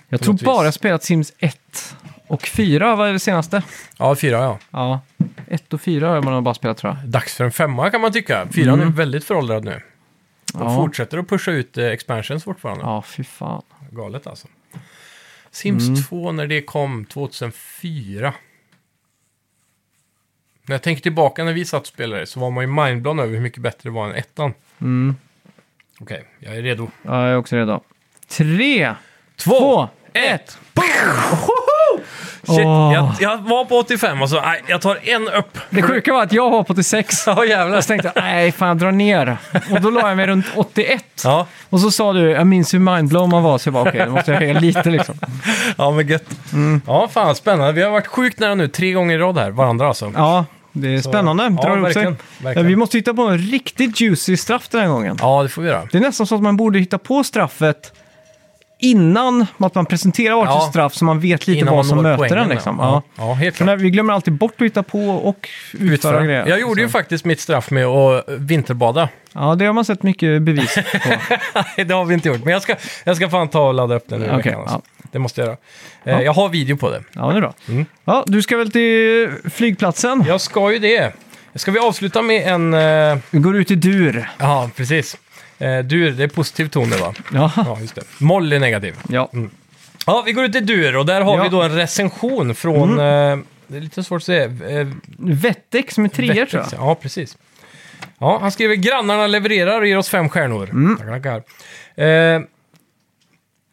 Speaker 1: Jag tror
Speaker 2: något vis.
Speaker 1: bara jag spelat Sims 1 och 4, vad är det senaste?
Speaker 2: Ja, fyra ja.
Speaker 1: Ja, 1 och 4 har man nog bara spelat tror jag.
Speaker 2: Dags för en femma kan man tycka. Fyran är väldigt föråldrad nu. De
Speaker 1: Ja.
Speaker 2: fortsätter att pusha ut eh, expansions fortfarande.
Speaker 1: Ja, fy fan.
Speaker 2: Galet alltså. Sims
Speaker 1: Mm.
Speaker 2: 2 när det kom 2004. När jag tänker tillbaka när vi satt och spelade så var man ju mindblown över hur mycket bättre det var än ettan.
Speaker 1: Mm.
Speaker 2: Okej, jag är redo.
Speaker 1: Ja, jag är också redo. 3,
Speaker 2: Två,
Speaker 1: 2,
Speaker 2: ett.
Speaker 1: 1.
Speaker 2: Shit,
Speaker 1: Åh.
Speaker 2: jag, jag var på 85 och så, nej, jag tar en upp.
Speaker 1: Det sjuka var att jag var på 86.
Speaker 2: Ja, jävlar.
Speaker 1: Och så tänkte jag, nej fan jag drar ner. Och då la jag mig runt 81.
Speaker 2: Ja,
Speaker 1: Och så sa du, jag minns hur mindblown man var, så jag bara okej, då måste jag höja lite liksom.
Speaker 2: ja men gött.
Speaker 1: Mm.
Speaker 2: Ja, fan spännande. Vi har varit sjukt nära nu, tre gånger i rad här, varandra alltså.
Speaker 1: Ja, det är spännande.
Speaker 2: ja,
Speaker 1: Drar upp sig.
Speaker 2: verkligen, verkligen.
Speaker 1: Vi måste hitta på en riktigt juicy straff den här gången.
Speaker 2: Ja, det får vi göra.
Speaker 1: Det är nästan så att man borde hitta på straffet innan att man presenterar vart
Speaker 2: Ja.
Speaker 1: ett straff så man vet lite vad som
Speaker 2: når
Speaker 1: möter
Speaker 2: poängen,
Speaker 1: en. Liksom.
Speaker 2: Ja,
Speaker 1: Ja.
Speaker 2: ja helt
Speaker 1: För
Speaker 2: klart.
Speaker 1: när vi glömmer alltid bort att hitta på och utföra,
Speaker 2: Utföra.
Speaker 1: grejer.
Speaker 2: Jag gjorde ju faktiskt mitt straff med att eh, vinterbada.
Speaker 1: Ja, det har man sett mycket bevis på.
Speaker 2: Nej, det har vi inte gjort. Men jag ska, jag ska fan ta och ladda upp den nu i
Speaker 1: Okej,
Speaker 2: veckan. Alltså. Det måste jag göra. Eh,
Speaker 1: Ja.
Speaker 2: Jag har video på det.
Speaker 1: Ja, det är bra.
Speaker 2: Mm.
Speaker 1: Ja, du ska väl till flygplatsen?
Speaker 2: Jag ska ju det. Ska vi avsluta med en... eh,
Speaker 1: Vi går ut i dur.
Speaker 2: Ja, precis. Eh, Dur, det är positiv ton det va?
Speaker 1: Ja.
Speaker 2: Ja, Mm. just det. Moll är negativ.
Speaker 1: Ja.
Speaker 2: Ja, vi går ut i dur och där har
Speaker 1: Ja. Mm.
Speaker 2: vi då en recension från... eh, Det är lite svårt att säga. eh,
Speaker 1: Vettex med treor tror jag.
Speaker 2: Vettelse. Ja, precis. Ja, han skriver grannarna levererar och ger oss fem stjärnor. Tackar, tackar. Eh,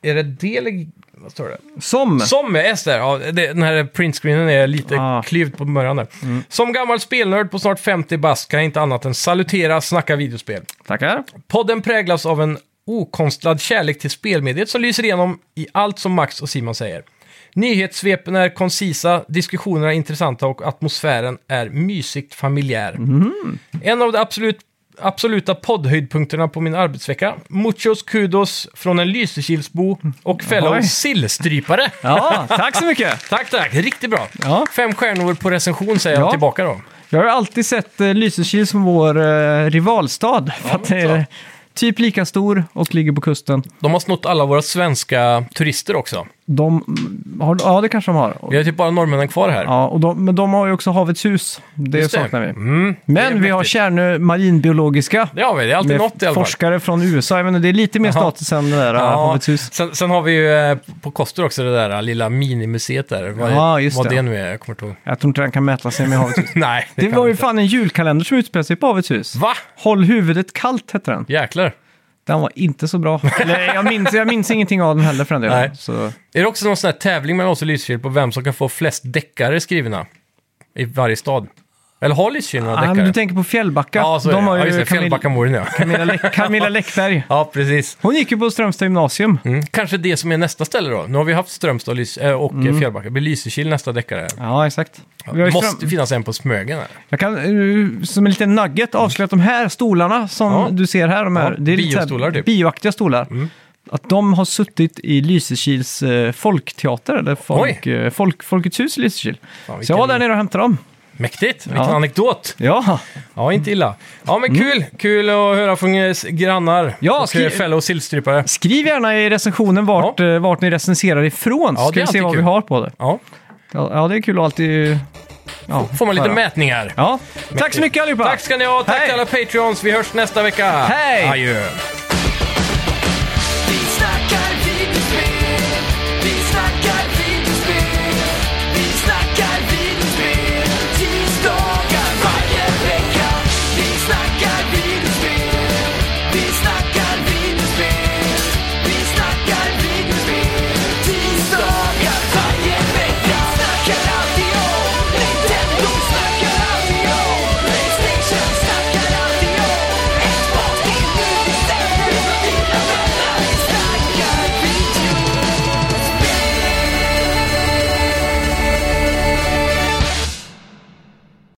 Speaker 2: är det D eller... vad står det?
Speaker 1: Som...
Speaker 2: Som är S där, ja, det, den här printscreenen är lite
Speaker 1: Ah.
Speaker 2: klyvd på början där. Som gammal spelnörd på snart 50 bast kan jag inte annat än salutera Snacka videospel.
Speaker 1: Tackar.
Speaker 2: Podden präglas av en okonstlad kärlek till spelmediet som lyser igenom i allt som Max och Simon säger. Nyhetssvepen är koncisa, diskussionerna är intressanta och atmosfären är mysigt familjär.
Speaker 1: Mhm.
Speaker 2: En av de absolut, absoluta poddhöjdpunkterna på min arbetsvecka. Muchos kudos från en Lysekilsbo och fellow
Speaker 1: Oj.
Speaker 2: sillstrypare.
Speaker 1: Ja, tack så mycket.
Speaker 2: Tack, tack. Riktigt bra.
Speaker 1: Ja.
Speaker 2: Fem stjärnor på recension säger jag
Speaker 1: Ja.
Speaker 2: tillbaka då.
Speaker 1: Jag har ju alltid sett eh, Lysekil som vår eh, rivalstad. För att det är typ lika stor och ligger på kusten.
Speaker 2: De har snott alla våra svenska turister också.
Speaker 1: De mm, har, ja, det kanske de har.
Speaker 2: Vi har typ bara norrmännen kvar här.
Speaker 1: Ja, och de, men de har ju också Havets hus. Det
Speaker 2: Just det.
Speaker 1: saknar vi.
Speaker 2: Mm, det är
Speaker 1: Men vi har
Speaker 2: mäktigt.
Speaker 1: Kärnö marinbiologiska.
Speaker 2: Det har vi, det är alltid
Speaker 1: Med
Speaker 2: något i alla fall.
Speaker 1: forskare från USA. Jag menar, det är lite mer
Speaker 2: Jaha.
Speaker 1: status än det där eh,
Speaker 2: Ja,
Speaker 1: Havets hus.
Speaker 2: sen, sen har vi ju eh, på Koster också det där eh, lilla minimuseet där. Vad,
Speaker 1: Ja, just
Speaker 2: vad det.
Speaker 1: det.
Speaker 2: nu är, jag kommer inte ihåg.
Speaker 1: Jag tror inte den kan mäta sig med Havets hus.
Speaker 2: Nej, det,
Speaker 1: Det
Speaker 2: kan
Speaker 1: var ju
Speaker 2: inte.
Speaker 1: fan en julkalender som utspelade sig på Havets hus.
Speaker 2: Va?
Speaker 1: Håll huvudet kallt hette den.
Speaker 2: Jäklar.
Speaker 1: Den var inte så bra. Eller, jag, minns, jag minns ingenting av den heller för den delen.
Speaker 2: Nej.
Speaker 1: Så,
Speaker 2: Är det också någon sån här tävling mellan oss och Lysekil på vem som kan få flest deckare skrivna i varje stad? Eller har Lysekil några
Speaker 1: ah,
Speaker 2: deckare?
Speaker 1: men du tänker på Fjällbacka.
Speaker 2: ja, så är
Speaker 1: de
Speaker 2: det.
Speaker 1: har
Speaker 2: ja, just
Speaker 1: ju
Speaker 2: det.
Speaker 1: Camilla,
Speaker 2: Fjällbackamourin, ja.
Speaker 1: Camilla, Läck- Camilla Läckberg.
Speaker 2: ja, precis.
Speaker 1: Hon gick ju på Strömstad gymnasium.
Speaker 2: Mm. Kanske det som är nästa ställe då. Nu har vi haft Strömstad och, Lys- eh, och eh, Fjällbacka. Det blir Lysekil nästa deckare.
Speaker 1: Ja, exakt. Mm. Vi har
Speaker 2: Det
Speaker 1: ju
Speaker 2: måste
Speaker 1: Ström...
Speaker 2: finnas en på Smögen här.
Speaker 1: Jag kan eh, som en liten nugget avslöja att de här stolarna som
Speaker 2: Ja.
Speaker 1: du ser här, de här,
Speaker 2: Ja,
Speaker 1: det är lite så här
Speaker 2: biostolar typ.
Speaker 1: bioaktiga stolar. Att de har suttit i Lysekils eh, folkteater, eller folk, eh, folk, Folkets hus i Lysekil.
Speaker 2: Fan,
Speaker 1: Så jag var
Speaker 2: vilken-
Speaker 1: där nere och hämtade dem.
Speaker 2: Mäktigt! Vilken
Speaker 1: Ja.
Speaker 2: anekdot!
Speaker 1: Ja,
Speaker 2: Ja, inte illa. Ja, men kul! Kul att höra från eh, s- grannar
Speaker 1: Mm. Ja,
Speaker 2: och
Speaker 1: skri-
Speaker 2: skri- fellow sillstrypare.
Speaker 1: skriv gärna i recensionen vart, eh, vart ni recenserar ifrån,
Speaker 2: Ja, det
Speaker 1: så ska
Speaker 2: är
Speaker 1: vi se
Speaker 2: alltid
Speaker 1: vad
Speaker 2: kul.
Speaker 1: vi har på det.
Speaker 2: Ja,
Speaker 1: Ja, ja, det är kul att alltid... Ja,
Speaker 2: får man lite
Speaker 1: höra.
Speaker 2: mätningar.
Speaker 1: Ja, tack så mycket allihopa!
Speaker 2: Tack ska ni ha! Tack
Speaker 1: Hej.
Speaker 2: till alla Patreons! Vi hörs nästa vecka!
Speaker 1: Hej.
Speaker 2: Adjö!